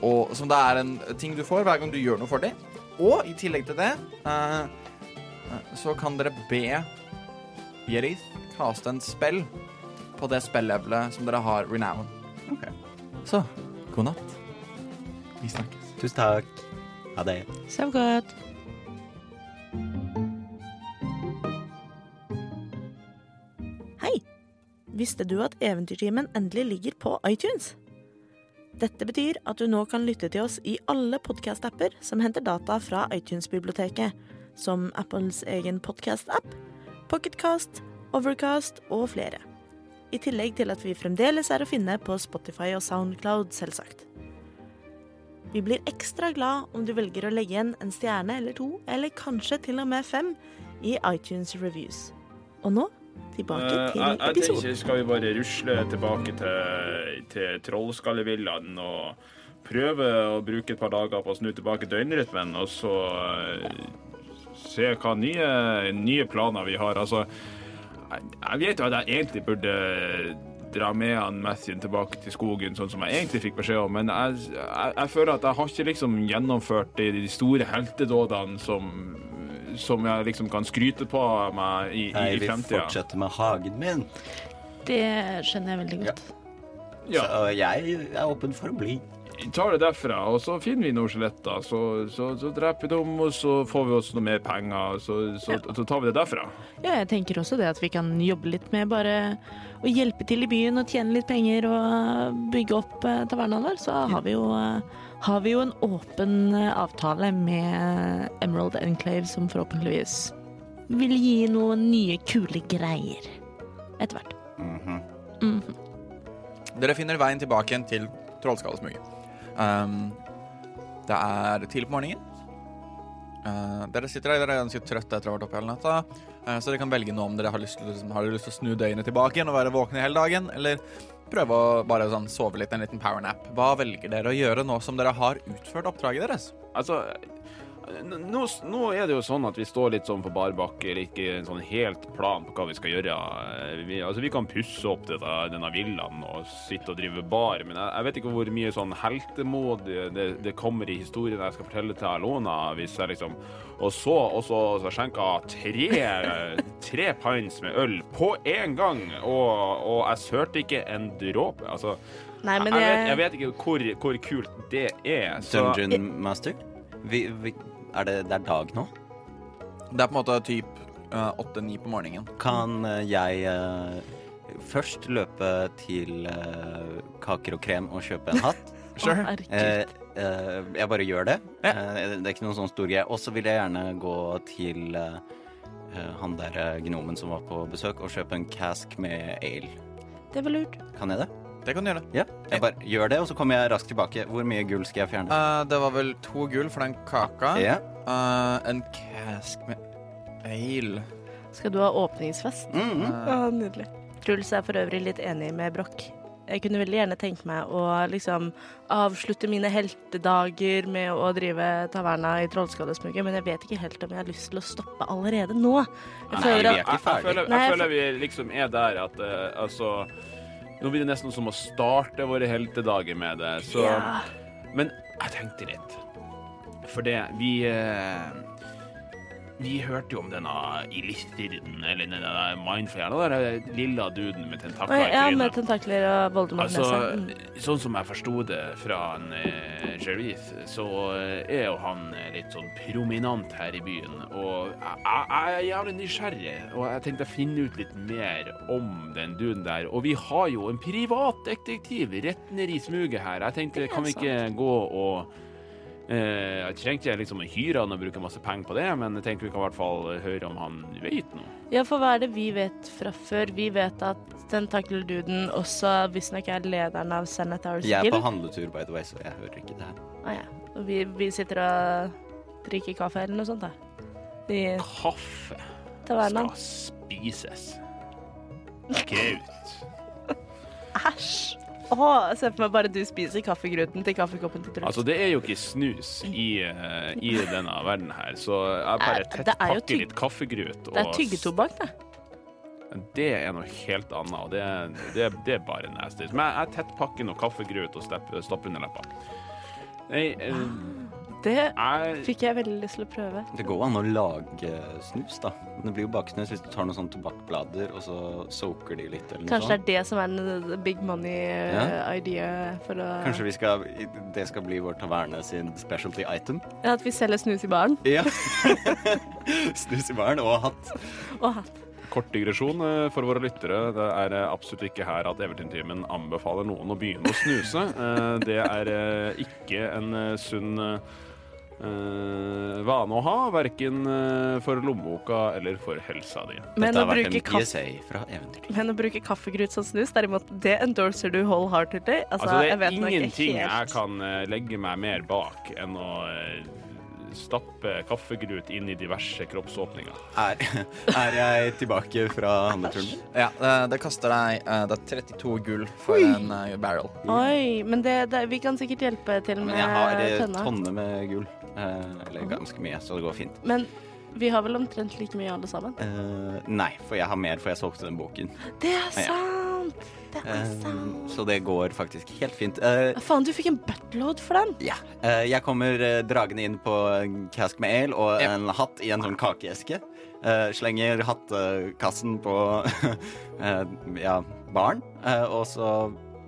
S5: Og, som da er en ting du får hver gang du gjør noe for dem. Og i tillegg til det eh, eh, så kan dere be Jerith kaste en spell på det spell-levelet som dere har renown.
S1: Ok.
S5: Så god natt. Vi snakkes.
S1: Tusen takk. Ha det.
S6: Sov godt.
S10: Hei! Visste du at Eventyrtimen endelig ligger på iTunes? Dette betyr at du nå kan lytte til oss i alle podcast-apper som henter data fra iTunes-biblioteket, som Apples egen podcast-app, Pocketcast, Overcast og flere. I tillegg til at vi fremdeles er å finne på Spotify og Soundcloud, selvsagt. Vi blir ekstra glad om du velger å legge igjen en stjerne eller to, eller kanskje til og med fem, i iTunes Reviews. Og nå tilbake
S9: Eh,
S10: til
S9: jeg, jeg
S10: episoden.
S9: tenker skal vi bare rusle tilbake til, til Trollskallevillaen og prøve å bruke et par dager på å snu tilbake døgnrytmen, og så eh, se hva nye, nye planer vi har. Altså, jeg, jeg vet jo at jeg egentlig burde dra med han Matthew tilbake til skogen, sånn som jeg egentlig fikk beskjed om, men jeg, jeg, jeg føler at jeg har ikke liksom gjennomført de, de store heltedådene som, som jeg liksom kan skryte på meg i, i,
S1: Hei,
S9: i
S1: vi
S9: fremtida.
S1: fortsetter med hagen min.
S6: Det skjønner jeg veldig godt.
S9: Ja,
S1: Så jeg er åpen for å bli.
S9: vi tar det derfra, og så finner vi noen skjeletter. Så, så, så dreper vi dem, og så får vi oss noe mer penger, og så, så, så tar vi det derfra.
S6: Ja, jeg tenker også det at vi kan jobbe litt med bare å hjelpe til i byen og tjene litt penger og bygge opp eh, tavernaen vår. Så har vi jo, eh, har vi jo en åpen eh, avtale med Emerald Enclave som forhåpentligvis vil gi noen nye kule greier etter hvert.
S5: Dere finner veien tilbake igjen til Trollskallesmugget. Um, det er tidlig på morgenen. Uh, dere sitter der, dere er ganske trøtte etter å ha vært oppe hele natta. Uh, så dere kan velge nå om dere har lyst, til, å- liksom, har dere lyst til å snu døgnet tilbake igjen og være våkne hele dagen, eller prøve å bare sånn, sove litt, en liten powernap. Hva velger dere å gjøre nå som dere har utført oppdraget deres?
S9: Altså, n- nå, nå er det jo sånn at vi står litt sånn på bar bakke, eller ikke en sånn helt plan på hva vi skal gjøre. Vi, altså, vi kan pusse opp dette, denne villaen og sitte og drive bar, men jeg, jeg vet ikke hvor mye sånn heltemod det, det kommer i historien jeg skal fortelle til Alona, hvis jeg liksom Og så, og så, og så skjenka tre, tre pints med øl på én gang, og, og jeg sørte ikke en dråpe. Altså,
S10: Nei, men
S9: jeg,
S10: jeg,
S9: vet, jeg vet ikke hvor, hvor kult det er. så-
S1: Dungeon master? eh, Vi, vi, er det, det er dag nå?
S5: Det er på en måte typ uh, åtte-ni på morgenen.
S1: Kan eh, jeg eh, først løpe til eh, Kaker og Krem og kjøpe en hatt?
S6: Å, herregud.
S1: Eh, eh, jeg bare gjør det. Eh, det er ikke noen sånn stor greie. Og så vil jeg gjerne gå til eh, eh, han der eh, gnomen som var på besøk, og kjøpe en cask med ale.
S6: Det var lurt.
S1: Kan jeg det?
S5: Det kan du gjøre.
S1: Ja. Jeg bare gjør det, og så kommer jeg raskt tilbake. Hvor mye gull skal jeg fjerne?
S5: Eh, det var vel to gull for den kaka.
S1: Ja.
S5: Eh, en cask med ale.
S6: Skal du ha åpningsfest?
S1: Mhm.
S6: Ja, nydelig.
S10: Truls er for øvrig litt enig med Broch. Jeg kunne veldig gjerne tenke meg å liksom avslutte mine heltedager med å drive taverna i Trollskadesmugget, men jeg vet ikke helt om jeg har lyst til å stoppe allerede nå. Jeg føler
S1: vi er ikke
S10: at
S9: Jeg, jeg,
S1: ferdig.
S9: føler,
S10: Nei,
S9: jeg
S10: jeg
S9: føler vi liksom er der at eh, altså Nå blir det nesten som å starte våre heltedager med det, så
S10: Ja.
S9: Men jeg tenkte litt. For det Vi eh, Vi hørte jo om denne Ilithirden, eller denne Mindflayer, den der lilla duden
S6: Oi,
S9: med tentakler i
S6: ja, med
S9: trynet.
S6: tentakler og Voldemort-nese.
S9: Altså,
S6: Mm.
S9: sånn som jeg forsto det fra en eh, Jareth, så eh, er jo han eh, litt sånn prominent her i byen. Og jeg, jeg- jeg er jævlig nysgjerrig, og jeg tenkte å finne ut litt mer om den duden der. Og vi har jo en privatdetektiv rett ned i smuget her. Jeg tenkte,
S6: Det er
S9: kan vi ikke gå og eh, Jeg trengte ikke liksom å hyre han og bruke masse penger på det, men jeg tenker vi kan i hvert fall høre om han vet noe.
S6: Ja, for hva er det vi vet fra før? Vi vet at tentakelduden også visstnok er lederen av Senators
S1: Jeg er på
S6: Guild.
S1: handletur, by the way, så jeg hører ikke det her.
S6: Ah, ja. Og vi, vi sitter og drikker kaffe eller noe sånt, da. I
S9: Kaffe
S6: tavernaen.
S9: skal spises. Kraut.
S6: Æsj! Å, jeg ser for meg bare du spiser kaffegruten til kaffekoppen til Truls.
S9: Altså, det er jo ikke snus i, eh, i denne verden her, så jeg
S6: Nei,
S9: bare
S6: det er jo
S9: tettpakker
S6: tygg-
S9: litt kaffegrut.
S6: det er
S9: og-
S6: tyggetobakk, det.
S9: Det er noe helt annet, og det, det, det er bare nasty. Men jeg tettpakker noe kaffegrut og stapper stapp under leppa. Nei, eh,
S6: Det
S9: jeg
S6: fikk jeg veldig lyst til å prøve.
S1: Det går an å lage snus, da. Men det blir jo baksnus hvis du tar noen sånne tobakkblader, og så soaker de litt, eller noe
S6: Kanskje det
S1: sånt.
S6: er det som er den big money
S1: Sånn. Ja.
S6: eh, idea for å
S1: Kanskje vi skal Det skal bli vår taverne sin specialty item.
S6: Ja, At vi selger snus i baren.
S1: Ja. snus i baren og hatt.
S6: Og hatt.
S9: Kort digresjon eh, for våre lyttere. Det er eh, absolutt ikke her at Everton-timen anbefaler noen å begynne å snuse. Eh, Det er eh, ikke en eh, sunn eh, vane å ha, verken eh, for lommeboka eller for helsa di.
S6: Men
S1: Dette
S6: å
S1: har vært
S6: bruke
S1: en
S6: kaffe
S1: PSA fra Eventyr.
S6: Men å bruke kaffegrut som snus, derimot, det endorser du wholeheartedly. Altså,
S9: Altså, det
S6: jeg
S9: er
S6: vet nok ikke
S9: ingenting
S6: helt.
S9: jeg kan eh, legge meg mer bak enn å eh, stappe kaffegrut inn i diverse kroppsåpninger.
S1: Er, er jeg tilbake fra handleturen min?
S5: Ja, det, det koster deg eh, Det er 32 gull for en eh, barrel.
S6: Oi, men det, det, vi kan sikkert hjelpe til med
S1: Men jeg har eh,
S6: tønna.
S1: tonne med gull. Eh, Eller ganske mye, så det går fint.
S6: Men vi har vel omtrent like mye alle sammen.
S1: Eh, nei, for jeg har mer, for jeg solgte den boken.
S6: Det er
S1: Ja.
S6: sant! Det er
S1: Eh,
S6: sant.
S1: så det går faktisk helt fint. Eh,
S6: Ja, Faen, du fikk en buttload for den!
S1: Ja. eh, jeg kommer eh, dragende inn på en cask med ale og
S5: Ja.
S1: en hatt i en sånn kakeeske. Eh, slenger hattekassen på eh, ja, baren. Eh, og så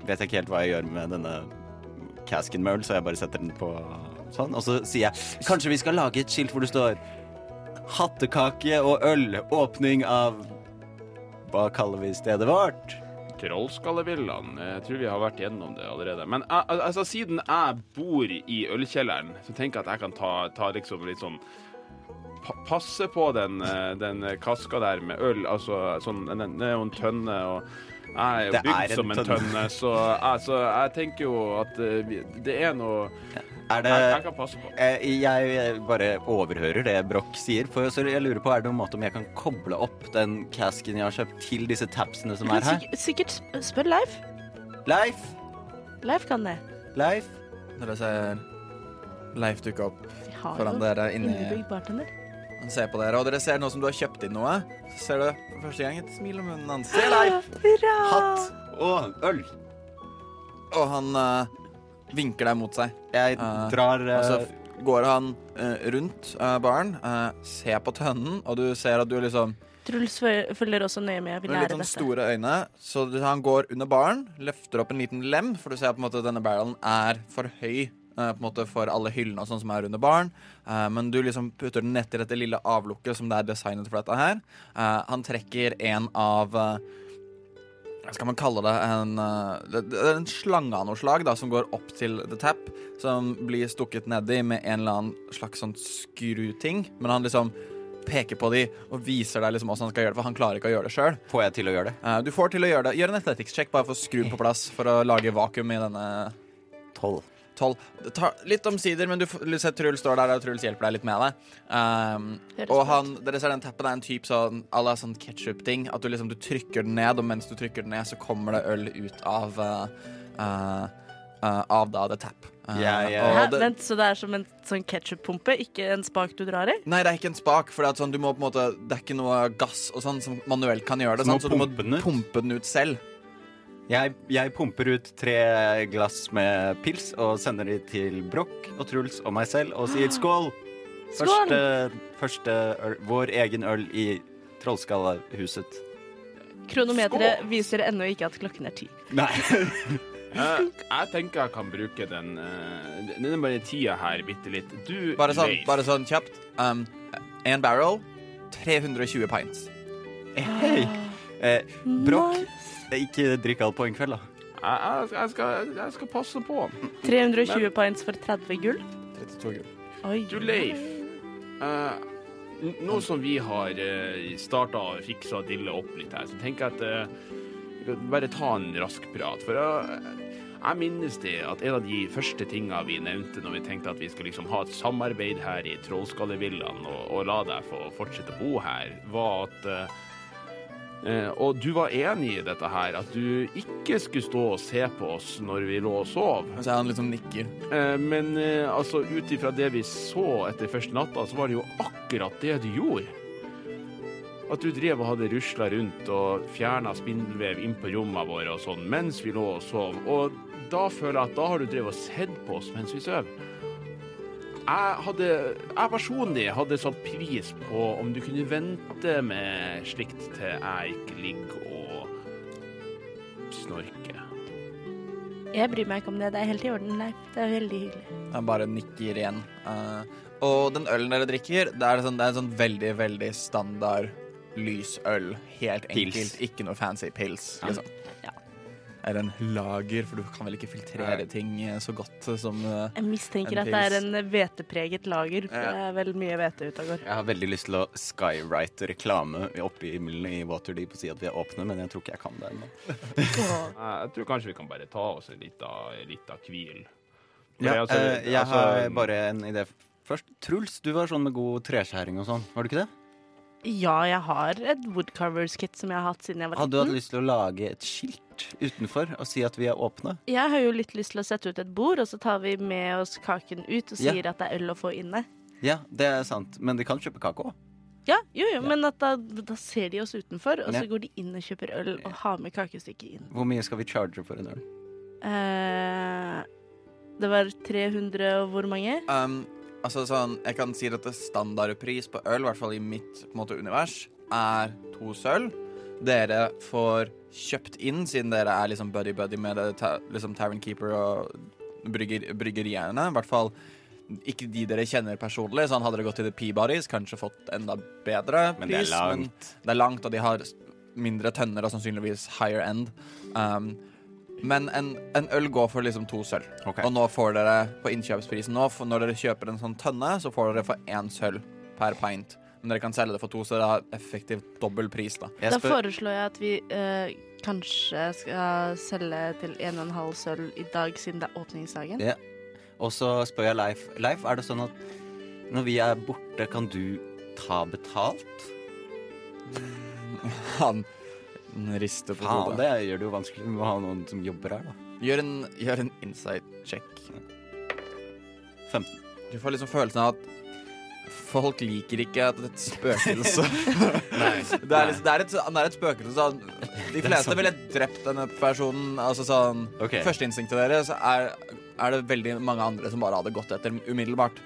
S1: vet jeg ikke helt hva jeg gjør med denne casken med øl, så jeg bare setter den på sånn. Og så sier jeg kanskje vi skal lage et skilt hvor det står 'Hattekake og øl. Åpning av Hva kaller vi stedet vårt?
S9: Trollskallevillaen. Jeg tror vi har vært gjennom det allerede. Men jeg- al- altså, siden jeg bor i ølkjelleren, så tenker jeg at jeg kan ta, ta liksom litt sånn pa Passe på den, eh, den kaska der med øl. Altså sånn den- Den er jo en tønne, og jeg er jo
S1: Det er
S9: bygd
S1: en
S9: som en
S1: tønne.
S9: tønne, så altså, jeg tenker jo at eh, vi- det er noe
S1: Er det
S9: jeg, jeg kan passe på.
S1: Eh, Jeg eh, bare overhører det Broch sier, for så jeg lurer på er det noen måte om jeg kan koble opp den casken jeg har kjøpt til disse tapsene som
S6: Men
S1: er her?
S6: sikk- sikkert sp- spør Leif.
S1: Leif!
S6: Leif kan det.
S1: Leif!
S5: Dere ser Leif dukke opp
S6: Vi har
S5: foran
S6: jo
S5: dere inni
S6: innebygd bartender.
S5: Han ser på dere, og dere ser nå som du har kjøpt inn noe, så ser du for første gang et smil om munnen hans.
S1: Se, Leif!
S6: Hurra!
S1: Hatt og øl.
S5: Og han eh, vinker deg mot seg.
S1: Jeg
S5: Ah.
S1: drar eh,
S5: Og så f- går han eh, rundt eh, baren, eh, ser på tønnen, og du ser at du liksom
S6: Truls fø- følger også nøye med. Jeg vil
S5: med litt
S6: lære
S5: sånn
S6: dette.
S5: store øyne. Så du- han går under baren, løfter opp en liten lem, for du ser på en måte at denne barrelen er for høy. eh, På en måte for alle hyllene og sånn som er under baren. Eh, Men du liksom putter den nett i dette lille avlukket som det er designet for dette her. Eh, Han trekker en av eh, Hva skal man kalle det? En, eh, det- det er en slange av noe slag da, som går opp til the tap. Som blir stukket nedi med en eller annen slags sånn skruting. Men han liksom peker på de og viser deg liksom hvordan han skal gjøre det, for han klarer ikke å gjøre det sjøl.
S1: Får jeg til å gjøre det?
S5: Eh, Du får til å gjøre det. Gjør en athletics check bare for å skru den på plass for å lage vakuum i denne
S1: Tolv.
S5: tolv. Det tar litt omsider, men du får- du ser Truls står der, og Truls hjelper deg litt med det. Um,
S6: Høres bra
S5: og han, dere ser den tappen er en type sånn à la sånn ketsjup-ting. At du liksom du trykker den ned, og mens du trykker den ned, så kommer det øl ut av eh, eh, eh, Av da the tap. Eh,
S1: Jeg, eh,
S5: og
S6: Hæ,
S5: det-
S6: vent, så det er som en sånn ketsjuppumpe, ikke en spak du drar i?
S5: Nei, det er ikke en spak, for det er, sånn, du må på en måte, det er ikke noe gass og sånn som manuelt kan gjøre det.
S1: Så
S5: Så,
S1: må
S5: sånn, så du må
S1: pumpe den ut?
S5: pumpe den ut selv.
S1: Jeg, jeg pumper ut tre glass med pils og sender de til Broch og Truls og meg selv og sier skål.
S6: Ah. Skål!
S1: Første, første øl, vår egen øl i Trollskallahuset.
S6: Kronometeret viser ennå ikke at klokken er ti.
S1: Nei.
S9: Eh, jeg tenker jeg kan bruke den eh, Denne bare tida her bitte litt. Du,
S5: Bare sånn,
S9: Leif.
S5: bare sånn kjapt. Um, en barrel, 320 pints.
S1: Hei. Eh, Brokk,
S6: Nice.
S1: ikke drikk alt på en kveld, da.
S9: Jeg, jeg, jeg, skal, jeg skal passe på.
S6: 320 pints for 30 gull.
S5: 32 gull.
S6: Oi.
S9: Du, Leif. eh, n- nå som vi har uh, starta og fiksa og dilla opp litt her, så tenker jeg at eh, vi kan bare ta en rask prat. For jeg, jeg minnes det at en av de første tinga vi nevnte når vi tenkte at vi skulle liksom ha et samarbeid her i Trollskallevillaen og, og la deg få fortsette å bo her, var at eh, Eh, og du var enig i dette her, at du ikke skulle stå og se på oss når vi lå og sov.
S5: Så han liksom nikker.
S9: Eh, Men eh, altså, ut ifra det vi så etter første natta, så var det jo akkurat det du gjorde. At du drev og hadde rusla rundt og fjerna spindelvev inn på rommene våre og sånn mens vi lå og sov. Og da føler jeg at da har du drevet og sett på oss mens vi sover. Jeg hadde Jeg personlig hadde satt pris på om du kunne vente med slikt til jeg ikke ligger og snorker.
S6: Jeg bryr meg ikke om det. Det er helt i orden, Leif. Det er veldig hyggelig.
S5: Han bare nikker igjen. Eh, og den ølen dere drikker, det er, sånn, det er en sånn veldig, veldig standard lysøl. Helt enkelt. Ikke noe fancy pils, liksom.
S6: Ja.
S5: Eller en lager, for du kan vel ikke filtrere ting eh, så godt som eh,
S6: Jeg mistenker
S5: En
S6: at det er
S5: pils.
S6: en hvetepreget lager. For
S1: Ja.
S6: det er vel mye hvete ute og går.
S1: Jeg har veldig lyst til å skywrite reklame oppe i himmelen i Waterdeep og si at vi er åpne, men jeg tror ikke jeg kan det ennå.
S6: Åh.
S9: Nei, Jeg tror kanskje vi kan bare ta oss en liten hvil. For
S1: Ja,
S9: det, altså,
S1: eh, jeg
S9: altså,
S1: har bare en idé først. Truls, du var sånn med god treskjæring og sånn, var du ikke det?
S6: Ja, jeg har et woodcarvers-kit som jeg har hatt siden jeg var
S1: Hadde du hatt
S6: liten.
S1: lyst til å lage et skilt utenfor og si at vi er åpne?
S6: Jeg har jo litt lyst til å sette ut et bord, og så tar vi med oss kaken ut
S1: Ja.
S6: og sier at det er øl å få inne.
S1: Ja, det er sant, men de kan kjøpe kake òg.
S6: Ja, jo, jo, men at da, da ser de oss utenfor, og
S1: Ja.
S6: så går de inn og kjøper øl og har med kakestykket inn.
S1: Hvor mye skal vi charge for en øl?
S6: Eh, det var 300 og hvor mange?
S5: Um, altså sånn, jeg kan si at det standardpris på øl, i hvert fall i mitt på en måte, univers, er to sølv. Dere får kjøpt inn, siden dere er liksom buddy-buddy med det, ta, liksom Tavern Keeper og brygger, bryggeriene. I hvert fall ikke de dere kjenner personlig. Sånn hadde dere gått til The Peabodies, kanskje fått enda bedre pris.
S1: Men det er langt.
S5: Det er langt, og de har s- mindre tønner og sannsynligvis higher end. Um, men en, en øl går for liksom to sølv.
S1: Ok.
S5: Og nå får dere på innkjøpsprisen nå, for når dere kjøper en sånn tønne, så får dere for én sølv per pint. Men dere kan selge det for to, så det er effektivt dobbel pris, da.
S1: Jeg
S6: Da
S1: spør-
S6: foreslår jeg at vi eh, kanskje skal selge til 1,5 sølv i dag, siden det er åpningsdagen.
S1: Ja. Og så spør jeg Leif. Leif, er det sånn at når vi er borte, kan du ta betalt?
S5: Han rister på
S1: Faen,
S5: hodet.
S1: det gjør det jo vanskelig. Vi må ha noen som jobber her, da.
S5: Gjør en, gjør en insight-sjekk.
S1: 15.
S5: Du får liksom følelsen av at folk liker ikke at det er et spøkelse. det, er liksom, det, er et, han er et spøkelse. så han- de
S1: sånn.
S5: fleste ville drept denne personen. Altså sånn
S1: Ok.
S5: Førsteinstinktet deres er, er det veldig mange andre som bare hadde gått etter umiddelbart.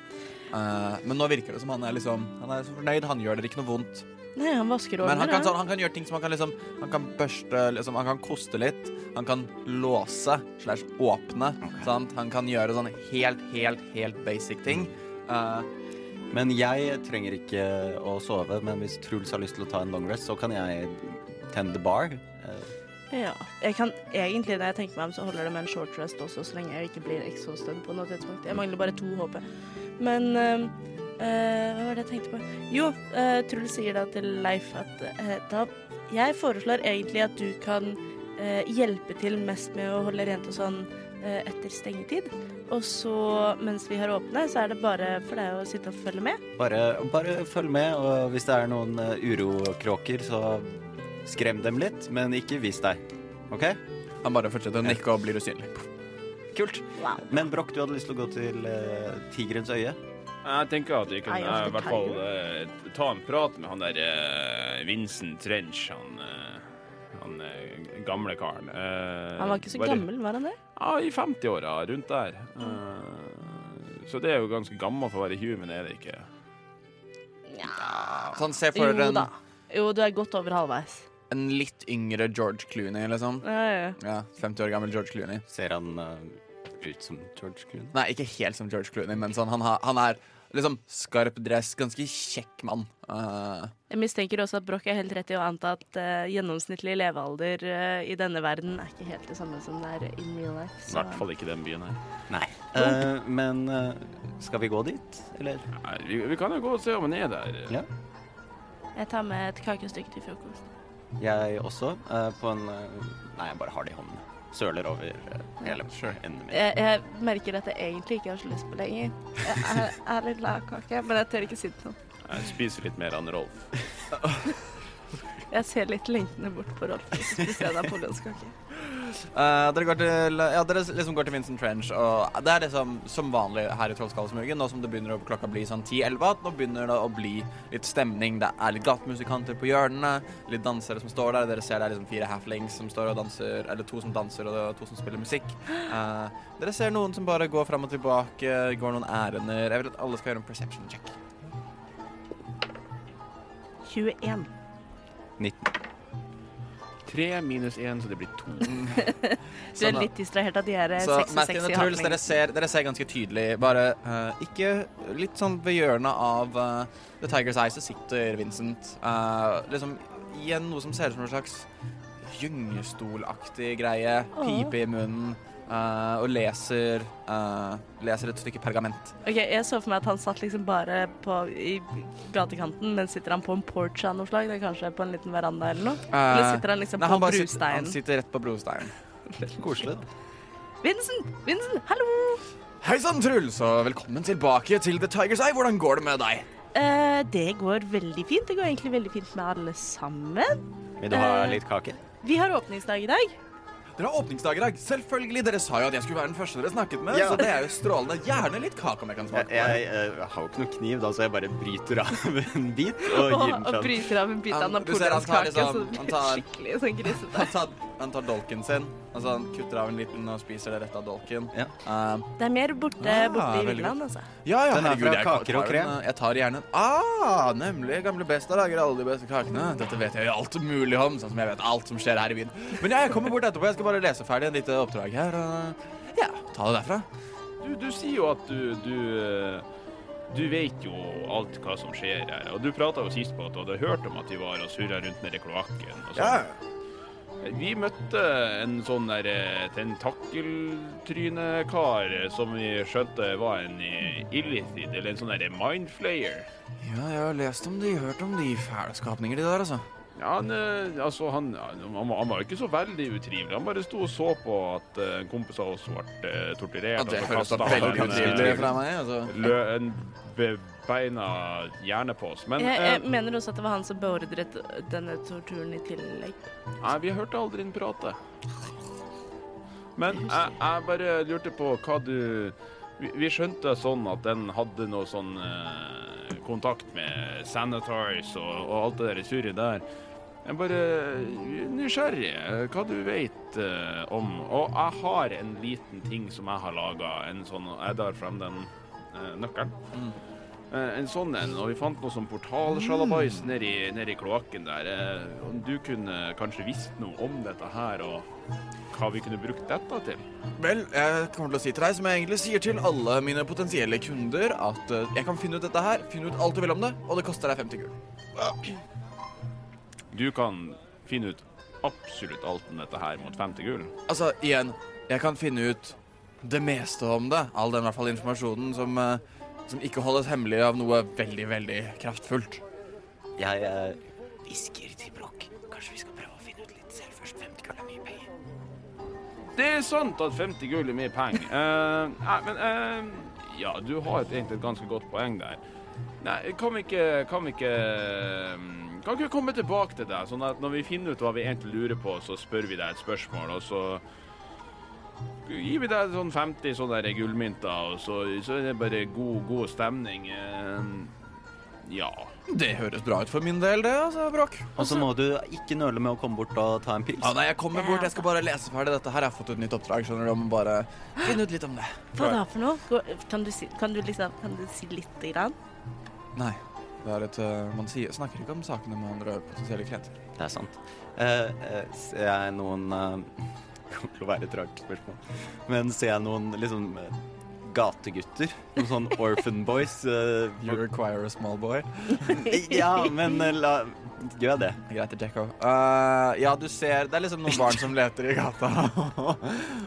S5: Eh, men nå virker det som han er liksom Han er så fornøyd. Han gjør dere ikke noe vondt.
S6: Nei, han vasker
S5: Men
S6: over.
S5: han kan, sånn, han kan gjøre ting som han kan liksom Han kan børste liksom, Han kan koste litt. Han kan låse slash åpne. Sant? Han kan gjøre sånne helt, helt, helt basic ting. Eh,
S1: Men jeg trenger ikke å sove, men hvis Truls har lyst til å ta en long rest, så kan jeg tend the bar. Eh,
S6: Ja. Jeg kan egentlig, når jeg tenker meg om, så holder det med en short rest også, så lenge jeg ikke blir exhausted på noe tidspunkt. Jeg mangler bare to HP. Men eh, eh, hva var det jeg tenkte på? Jo, eh, Truls sier da til Leif at eh, da Jeg foreslår egentlig at du kan eh, hjelpe til mest med å holde rent og sånn eh, etter stengetid. Og så, mens vi har åpne, så er det bare for deg å sitte og følge med.
S1: Bare, bare følg med, og hvis det er noen eh, urokråker, så skrem dem litt, men ikke vis deg. OK?
S5: han bare fortsetter å nikke og blir usynlig.
S1: Kult. Men Broch, du hadde lyst til å gå til eh, Tigerens øye.
S9: Jeg tenker at vi kan
S6: Eye of the
S9: eh, i hvert fall eh, ta en prat med han der eh, Vincent Trench, han, eh, han eh, gamle karen. Eh,
S6: Han var ikke så
S9: bare-
S6: gammel, var han det?
S9: Ja, i 50-åra, rundt der. Eh, så det er jo ganske gammel for å være human, er det ikke?
S5: Sånn, se for dere
S6: Jo
S5: en,
S6: da. Jo, du er godt over halvveis.
S5: en litt yngre George Clooney, liksom. Ja, 50 år gammel George Clooney.
S1: Ser han eh, ut som George Clooney?
S5: Nei, ikke helt som George Clooney, men sånn, han, har, han er liksom skarp dress, ganske kjekk mann. Eh,
S6: Jeg mistenker også at Broch er helt rett i å anta at eh, gjennomsnittlig levealder eh, i denne verden er ikke helt det samme som det er in real life.
S9: I hvert fall ikke den byen her.
S1: Nei. Eh, men eh, skal vi gå dit, eller?
S9: Nei, vi, vi kan jo gå og se om han er der.
S1: Ja.
S6: Jeg tar med et kakestykke til frokost.
S1: Jeg også. eh, på en eh, Nei, jeg bare har det i hånden. Søler over eh, hele endene mine.
S6: Jeg, jeg merker at jeg egentlig ikke har så lyst på lenger. Jeg er, er litt glad i kake, men jeg tør ikke si det sånn.
S9: Jeg spiser litt mer enn Rolf.
S6: Jeg ser litt lengtende bort på Rolf, og så spiser jeg napoleonskake.
S5: eh, dere, går til, ja, dere liksom går til Vincent Trench, og det er liksom som vanlig her i Trollskallesmuggen. Nå som det begynner å klokka bli sånn 10-11, at nå begynner det å bli litt stemning. Det er litt gatemusikanter på hjørnene, litt dansere som står der. Dere ser det er liksom fire halflings som står og danser, eller to som danser og to som spiller musikk. Eh, dere ser noen som bare går fram og tilbake, går noen ærender. Jeg vil at alle skal gjøre en perception check.
S6: 21.
S9: 3 minus 1, så det blir 2.
S6: Du
S5: Sånn
S6: er
S5: da.
S6: litt distrahert av de her eh,
S5: Så
S6: 66
S5: Martin og
S6: i
S5: Truls, dere
S6: halvlengden.
S5: ser, dere ser ganske tydelig Bare eh, ikke litt sånn ved hjørnet av eh, The Tiger's Eye så sitter Vincent eh, liksom i en, noe som ser ut som en slags gyngestolaktig greie. Pipe i munnen. eh, og leser eh, leser et stykke pergament.
S6: Ok, Jeg så for meg at han satt liksom bare på, i gatekanten, men sitter han på en porch av noe slag? Det er kanskje på en liten veranda eller noe? Eller
S5: Eh,
S6: sitter han liksom
S5: nei,
S6: på
S5: han, bare sitter, han
S6: brusteinen?
S5: sitter rett på brosteinen.
S1: Koselig, da.
S6: Vincent! Vincent, hallo!
S5: Hei sann, Truls, og velkommen tilbake til The Tiger's Eye. Hvordan går det med deg?
S6: Eh, det går veldig fint. Det går egentlig veldig fint med alle sammen.
S1: Vil du ha
S6: Eh,
S1: litt kake?
S6: Vi har åpningsdag i dag.
S5: Dere har åpningsdag i dag. Selvfølgelig. Dere sa jo at jeg skulle være den første dere snakket med.
S1: Ja.
S5: Så det er jo strålende. Gjerne litt kake om jeg kan
S1: Jeg,
S5: smake.
S1: jeg, eh, har jo ikke noen kniv, da, så jeg bare bryter av en bit og
S6: Og,
S1: gir den
S6: og
S1: til han.
S6: bryter av en bit av
S5: Han- du ser han tar
S6: napoleonskake,
S5: liksom-
S6: så det
S5: han
S6: blir
S5: tar-
S6: skikkelig sånn grisete.
S5: Han tar, han tar dolken sin, altså han kutter av en liten og spiser det rett av dolken.
S1: Ja.
S5: Eh,
S6: Det er mer borte,
S5: Ah,
S6: borte i
S5: veldig
S6: Vigeland, altså.
S5: ja, ja,
S1: Den er
S5: herregud,
S1: fra
S5: jeg
S1: kaker og
S5: tar den,
S1: krem.
S5: eh, Jeg tar gjerne en Ah, nemlig. Gamle Besta lager alle de beste kakene. Dette vet jeg jo alt mulig om, sånn som jeg vet alt som skjer her i byen. Men jeg kommer bort etterpå. Jeg skal bare lese ferdig et lite oppdrag her. Og ja, ta det derfra.
S9: Du, du sier jo at du, du eh, Du vet jo alt hva som skjer her. Og du prata jo sist på at du hadde hørt om at de var og surra rundt nede i kloakken. og sånn. Vi møtte en sånn der eh, tentakeltrynekar eh, som vi skjønte var en eh, illithid, eller en sånn der mindflayer.
S5: Ja, jeg har lest om de, hørt om de fæle skapninger de der, altså.
S9: Ja, han, eh, altså, han, han, var- han var jo ikke så veldig utrivelig. Han bare sto og så på at eh, en kompis av oss ble eh, torturert.
S5: Ja,
S9: og
S5: det
S9: så
S5: høres da
S9: kastet han
S5: veldig
S9: en, eh,
S5: utrivelig fra meg. altså.
S9: lø, en bebeina hjerne på oss. Men
S6: Jeg,
S9: eh,
S6: jeg mener også at det var han som beordret denne torturen i tillegg.
S9: nei, vi hørte aldri han prate. Men jeg, jeg bare lurte på hva du Vi, vi skjønte sånn at den hadde noe sånn eh, kontakt med Sanitize og, og alt det der surret der. Jeg er bare nysgjerrig eh, hva du vet eh, om Og jeg har en liten ting som jeg har laga. Sånn, jeg drar frem den eh, nøkkelen. Eh, en sånn en, og vi fant noe sånn portalsjalabais nedi, nedi kloakken der. Eh, om du kunne kanskje visst noe om dette her, og hva vi kunne brukt dette til?
S5: Vel, jeg kommer til å si til deg, som jeg egentlig sier til alle mine potensielle kunder, at eh, jeg kan finne ut dette her, finne ut alt du vil om det, og det koster deg 50 gull.
S9: Du kan finne ut absolutt alt om dette her mot 50 gull.
S5: Altså, igjen, jeg kan finne ut det meste om det. All den i hvert fall informasjonen som, eh, som ikke holdes hemmelig av noe veldig, veldig kraftfullt.
S1: Jeg eh, hvisker til Brokk. Kanskje vi skal prøve å finne ut litt selv først. 50 gull er mye penger.
S9: Det er sant at 50 gull er mye penger. Eh, nei, men eh, Ja, du har et, egentlig et ganske godt poeng der. Nei, kan vi ikke Kan vi ikke mm, Kan ikke vi komme tilbake til deg, sånn at når vi finner ut hva vi egentlig lurer på, så spør vi deg et spørsmål, og så gir vi deg sånn 50 sånne der gullmynter, og så, så er det bare god, god stemning. Eh, ja.
S5: Det høres bra ut for min del, det, altså, Bråk.
S1: Og så må du ikke nøle med å komme bort og ta en pils.
S5: Ja, nei, jeg kommer bort. Jeg skal bare lese ferdig dette her. Jeg har fått et nytt oppdrag, skjønner du, om å bare finne ut litt om det.
S6: Hva da for noe? Gå- Kan du si, kan du liksom, kan du si litt? Grann?
S5: Nei. Det er et, eh, man sier, snakker ikke om sakene med andre potensielle klienter.
S11: Det er sant. Eh, eh, ser jeg noen eh, Det kommer til å være et rart spørsmål. Men ser jeg noen liksom eh, gategutter? Noen sånn orphan boys? eh,
S5: You require a small boy.
S11: ja, men eh, la, gjør jeg det?
S5: Greit, Jacko. Eh, ja, du ser Det er liksom noen barn som leter i gata. og,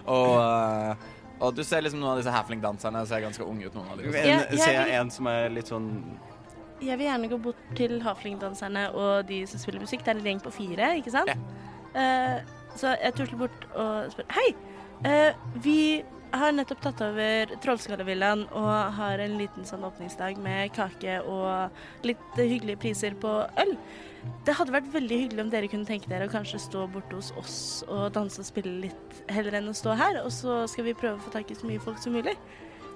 S5: eh, og du ser liksom noen av disse halfling-danserne ser ganske unge ut, noen av dem.
S11: Men,
S10: Jeg- jeg
S11: ser jeg
S10: vil-
S11: en som er litt sånn
S10: Jeg vil gjerne gå bort til haflingdanserne og de som spiller musikk. Det er en gjeng på fire, ikke sant? Eh, så jeg tusler bort og spør Hei! eh, vi har nettopp tatt over Trollskallevillaen og har en liten sånn åpningsdag med kake og litt hyggelige priser på øl. Det hadde vært veldig hyggelig om dere kunne tenke dere å kanskje stå borte hos oss og danse og spille litt, heller enn å stå her. Og så skal vi prøve å få tak i så mye folk som mulig.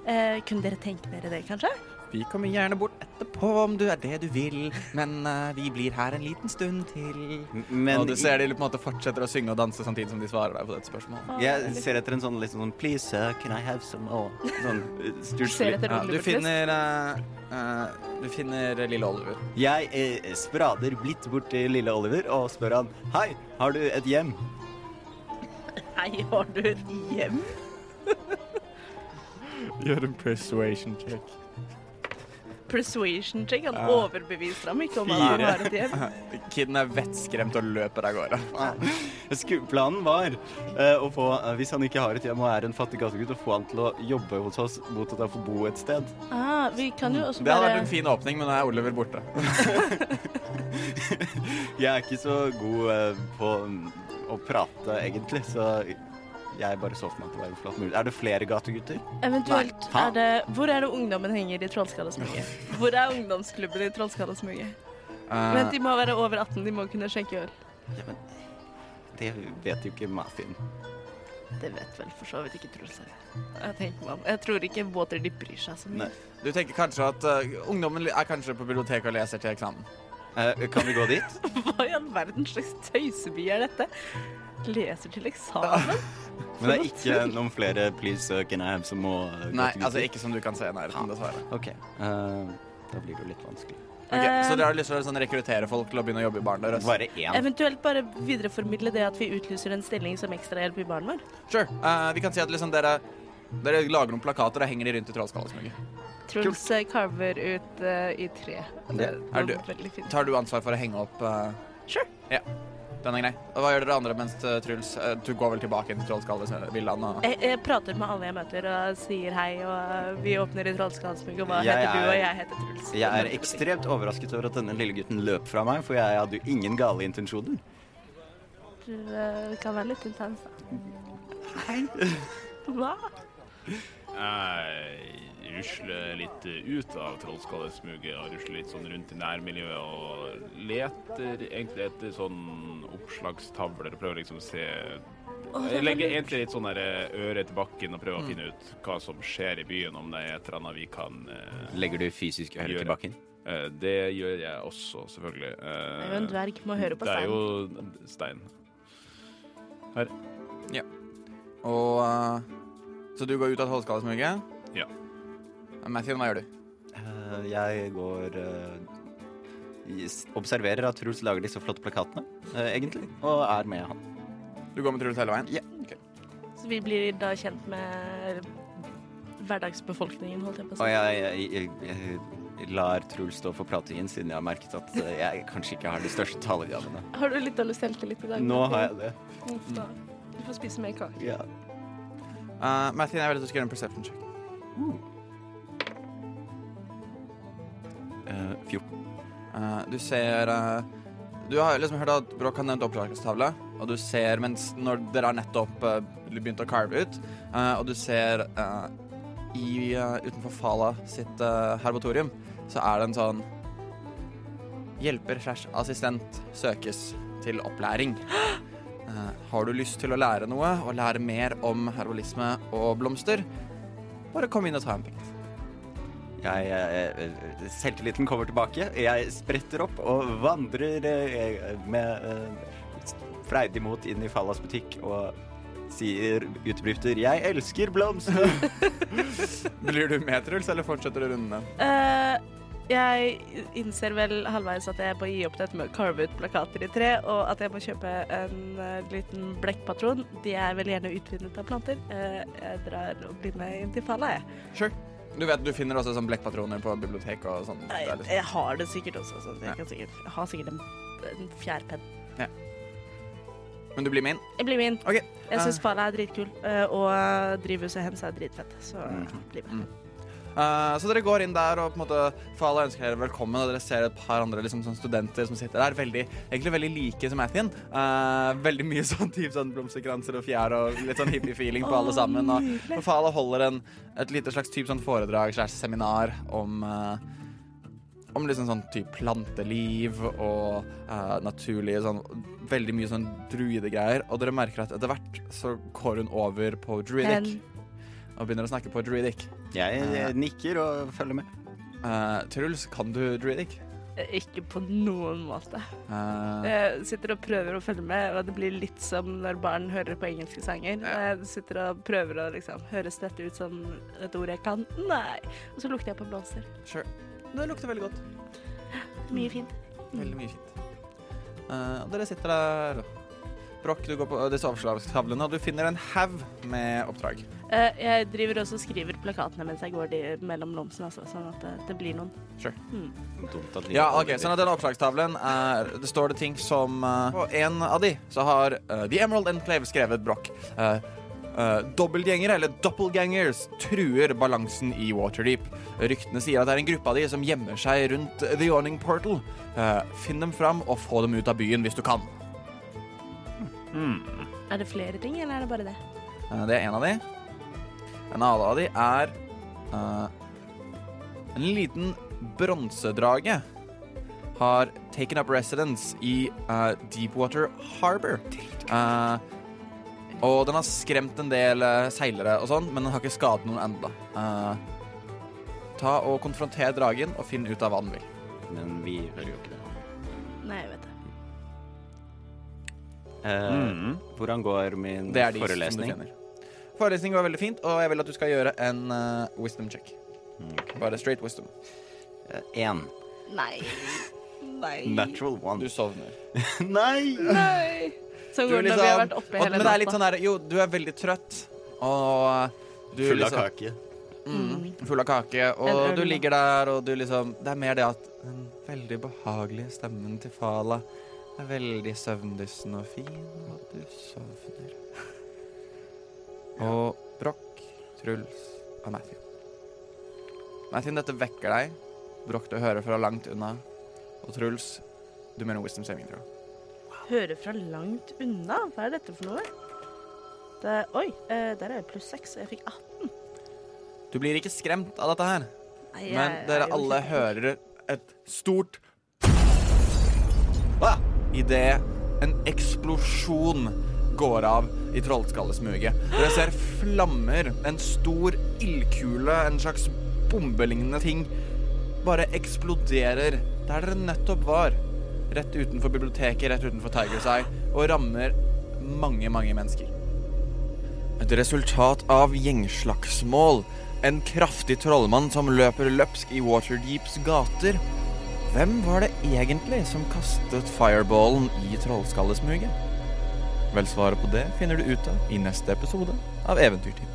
S10: Eh, kunne dere tenke dere det, kanskje?
S1: Vi kommer gjerne bort etterpå om du er det du vil, men eh, vi blir her en liten stund til.
S11: Men
S5: og du ser de på en måte fortsetter å synge og danse samtidig som de svarer deg på dette spørsmålet.
S11: jeg ser etter en sånn litt sånn Please, sir, can I have some more? Sånn eh,
S12: Ser
S11: stusslig.
S12: etter
S5: Ja,
S12: Oliver
S5: du
S12: Twist.
S5: finner eh, eh, Du finner lille Oliver.
S11: Jeg eh, sprader blidt bort til lille Oliver og spør han Hei, har du et hjem?
S10: Hei, har du et hjem?
S5: Gjør en persuasion check.
S10: Persuasion check. Han
S5: Ja.
S10: overbeviser ham ikke om at han
S5: Fire.
S10: har et hjem.
S5: Kiden er vettskremt og løper av gårde.
S11: Sku- Planen var eh, å få, eh, hvis han ikke har et hjem og er en fattig gategutt, å få han til å jobbe hos oss mot at han får bo et sted.
S10: Ah, vi kan jo også
S5: Det hadde vært
S10: bare
S5: en fin åpning, men nå er Oliver borte.
S11: Jeg er ikke så god eh, på mm, å prate, egentlig, så jeg bare så for meg at det var en flott mulighet. Er det flere gategutter?
S10: Eventuelt
S11: Nei,
S10: er det Hvor er det ungdommen henger i Trollskallasmuget? Hvor er ungdomsklubben i Trollskallasmuget?
S5: Eh,
S10: Men de må være over 18, de må kunne skjenke øl.
S11: Ja, men det vet jo ikke Mathin.
S10: Det vet vel for så vidt ikke Truls. Jeg tenker meg om. Jeg tror ikke Waterdeep bryr seg så mye.
S11: Nei.
S5: du tenker kanskje at eh, ungdommen er kanskje på biblioteket og leser til eksamen.
S11: Eh, kan vi gå dit?
S10: Hva i all verden slags tøyseby er dette? Leser til eksamen?
S11: Men det er ikke noen flere please uh, can I have some more uh,
S5: Nei,
S11: gategutter?
S5: altså ikke som du kan se i nærheten, dessverre.
S11: OK. eh, da blir det jo litt vanskelig.
S5: Ok, så
S10: Eh,
S5: dere har lyst til å sånn, rekruttere folk til å begynne å jobbe i baren deres?
S11: Bare én.
S10: Eventuelt bare videreformidle det at vi utlyser en stilling som ekstrahjelp i baren vår.
S5: Sure. Eh, vi kan si at liksom dere, dere lager noen plakater og henger de rundt i Trollskallesmugget.
S10: Truls eh, carver ut eh, i tre.
S5: Det er du.
S10: Veldig fint.
S5: Tar du ansvar for å henge opp eh,
S10: Sure.
S5: Ja. Den er grei. Og hva gjør dere andre mens eh, Truls eh, Du går vel tilbake inn til Trollskallesvillaen og
S10: Jeg, jeg prater med alle jeg møter og sier hei, og eh, vi åpner i Trollskalsmugg, og hva
S11: Jeg
S10: heter du,
S11: er-
S10: og jeg heter Truls.
S11: Jeg er ekstremt overrasket over at denne lille gutten løp fra meg, for jeg hadde jo ingen gale intensjoner.
S10: Du eh, kan være litt intens, da.
S11: Hei.
S10: Hva?
S9: Jeg rusler litt ut av Trollskallesmuget og rusler litt sånn rundt i nærmiljøet og leter egentlig etter sånn oppslagstavler og prøver liksom å se Jeg legger egentlig litt sånn der øre til bakken og
S10: Mm.
S9: prøver å finne ut hva som skjer i byen, om det er et eller annet vi kan eh,
S11: Legger du fysisk øre
S9: Gjør
S11: til bakken?
S9: eh, Det gjør jeg også, selvfølgelig. Eh,
S10: Det
S5: Eh,
S10: er jo en dverg, må høre på
S9: Det er
S10: stein.
S9: jo stein.
S5: Og eh, Så du går ut av Trollskallesmugget?
S9: Ja.
S5: Matthew, hva gjør du?
S11: Eh, jeg går eh, s- Observerer at Truls lager disse flotte plakatene, eh, egentlig, og er med han.
S5: Du går med Truls hele veien?
S10: Så vi blir da kjent med hverdagsbefolkningen, holdt jeg på å
S11: Og
S10: si.
S11: jeg, jeg, jeg, jeg lar Truls stå for pratingen, siden jeg har merket at eh, jeg kanskje ikke har de største talegavene.
S10: Har du litt dårlig selvtillit i dag?
S11: Nå har jeg det.
S10: Uff da. Du får spise mer kake.
S11: Ja.
S5: Uh, Matthew, jeg vil at du skal gjøre en perception check.
S11: Eh, 14.
S5: Eh, du ser eh, Du har liksom hørt at Broch har nevnt oppslagstavle, og du ser mens når dere har nettopp eh, begynt å carve ut, eh, og du ser eh, i, eh, utenfor Fala sitt eh, herbatorium, så er det en sånn Hjelper slash assistent søkes til opplæring. Eh, har du lyst til å lære noe og lære mer om herbalisme og blomster, bare kom inn og ta en prat.
S11: Jeg, eh, eh, selvtilliten kommer tilbake. Jeg spretter opp og vandrer eh, med eh, freidig mot inn i Fallas butikk og sier utbrifter 'Jeg elsker blomster'.
S5: Blir du med, Truls, eller fortsetter du rundene?
S10: Eh, Jeg innser vel halvveis at jeg må gi opp dette med å carve ut plakater i tre, og at jeg må kjøpe en eh, liten blekkpatron. De er vel gjerne utvinnet av planter. Eh, jeg drar og blir med inn til Falla, jeg.
S5: Sure. Du vet, du finner også sånn blekkpatroner på bibliotek og sånn.
S10: Nei,
S5: Det er liksom-
S10: jeg har det sikkert også, så
S5: Ja.
S10: jeg, kan sikkert, jeg har sikkert en, en fjærpenn.
S5: Men du blir med inn.
S10: Jeg blir med inn.
S5: Ok.
S10: Jeg syns Fala er dritkul, eh, og drivhuset hennes er dritfett, så bli med.
S5: Eh, så dere går inn der, og på en måte Fala ønsker dere velkommen. Og dere ser et par andre liksom, sånn studenter som sitter der, veldig, egentlig veldig like som Athien. Eh, veldig mye sånn typ sånn blomsterkranser og fjær og litt sånn hippie-feeling på alle sammen. Og, og Fala holder en, et lite slags typ sånn foredrag slags seminar om eh, om liksom sånn typ planteliv og eh, naturlige sånn Veldig mye sånn druidegreier. Og dere merker at etter hvert så går hun over på druidic.
S10: Hen.
S5: Og begynner å snakke på druidic.
S11: Jeg, eh, nikker og følger med.
S5: Eh, Truls, kan du druidic?
S10: Eh, Ikke på noen måte.
S5: Eh,
S10: Jeg sitter og prøver å følge med, og det blir litt som når barn hører på engelske sanger. Jeg sitter og prøver å liksom Høres dette ut som et ord jeg kan? Nei. Og så lukter jeg på blomster.
S5: sure. Det lukter veldig godt.
S10: Mye fint.
S5: Veldig mye fint. Eh, og dere sitter der. Brokk, du går på eh, disse avslagstavlene, og du finner en haug med oppdrag.
S10: Eh, Jeg driver også og skriver plakatene mens jeg går de mellom lomsene, altså, sånn at det, det blir noen.
S11: Dumt at de
S5: Ja, ok, sånn at denne oppslagstavlen er, Det står det ting som eh, På en av de så har eh, The Emerald Enclave skrevet Brock uh, Dobbeltgjengere, eller doppelgangers Truer balansen i Waterdeep Ryktene sier at det er en gruppe av de Som gjemmer seg rundt The Yawning Portal Eh, Finn dem fram og få dem ut av byen Hvis du kan
S9: Hmm.
S10: Er det flere ting, eller er det bare det?
S5: Eh, Det er en av de. En annen av de er eh, En liten bronsedrage har taken up residence i eh, Deepwater Harbor. Eh, og den har skremt en del eh, seilere og sånn, men den har ikke skadet noen ennå. ta og Konfronter dragen og finn ut av hva den vil.
S11: Men vi hører jo ikke det.
S10: Nei, jeg vet det.
S11: Eh, Hvordan går min
S5: Det er de
S11: forelesning?
S5: som du kjenner. Forelesning var veldig fint, og jeg vil at du skal gjøre en eh, wisdom check. Bare straight wisdom.
S11: Én.
S10: Nei. Nei.
S11: Natural
S5: Du
S11: one.
S5: sovner.
S11: Nei!
S10: Nei. Sånn
S5: Du
S10: går
S5: er liksom-
S10: det når vi har vært oppe
S5: og-
S10: hele
S5: Men det er litt sånn der, jo, du er veldig trøtt, og du
S11: Full av
S5: liksom,
S11: kake.
S5: Mm, full av kake,
S10: En
S5: og
S10: øl,
S5: du
S10: da.
S5: ligger der, og du liksom Det er mer det at den veldig behagelige stemmen til Fala er veldig søvndyssen og fin, og du sovner. Og Broch, Truls og Matthew. Matthew, dette vekker deg. Broch, du hører fra langt unna. Og Truls, du mener Wisdom Saving Throw.
S10: Hører fra langt unna? Hva er dette for noe? Det, oi, eh, der er jeg pluss seks, og jeg fikk 18.
S5: Du blir ikke skremt av dette her.
S10: Nei, jeg
S5: Men
S10: er
S5: dere
S10: jo
S5: alle
S10: kjempe-
S5: hører et stort ah! Idet en eksplosjon går av i trollskallesmuget. Dere ser flammer, en stor ildkule, en slags bombelignende ting, bare eksploderer der dere nettopp var. Rett utenfor biblioteket, rett utenfor Tiger's Eye, og rammer mange, mange mennesker. Et resultat av gjengslagsmål. En kraftig trollmann som løper løpsk i Waterdeeps gater. Hvem var det egentlig som kastet fireballen i trollskallesmuget? Vel, svaret på det finner du ut av i neste episode av Eventyrtimen.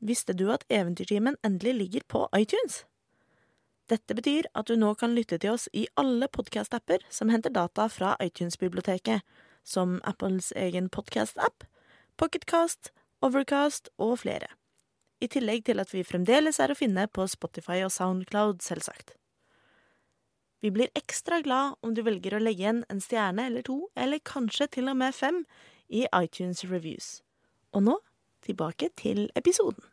S6: Visste du at Eventyrtimen endelig ligger på iTunes? Dette betyr at du nå kan lytte til oss i alle podkast-apper som henter data fra iTunes-biblioteket, som Apples egen podcast-app, Pocketcast, Overcast og flere. I tillegg til at vi fremdeles er å finne på Spotify og Soundcloud, selvsagt. Vi blir ekstra glad om du velger å legge igjen en stjerne eller to, eller kanskje til og med fem, i iTunes Reviews. Og nå tilbake til episoden.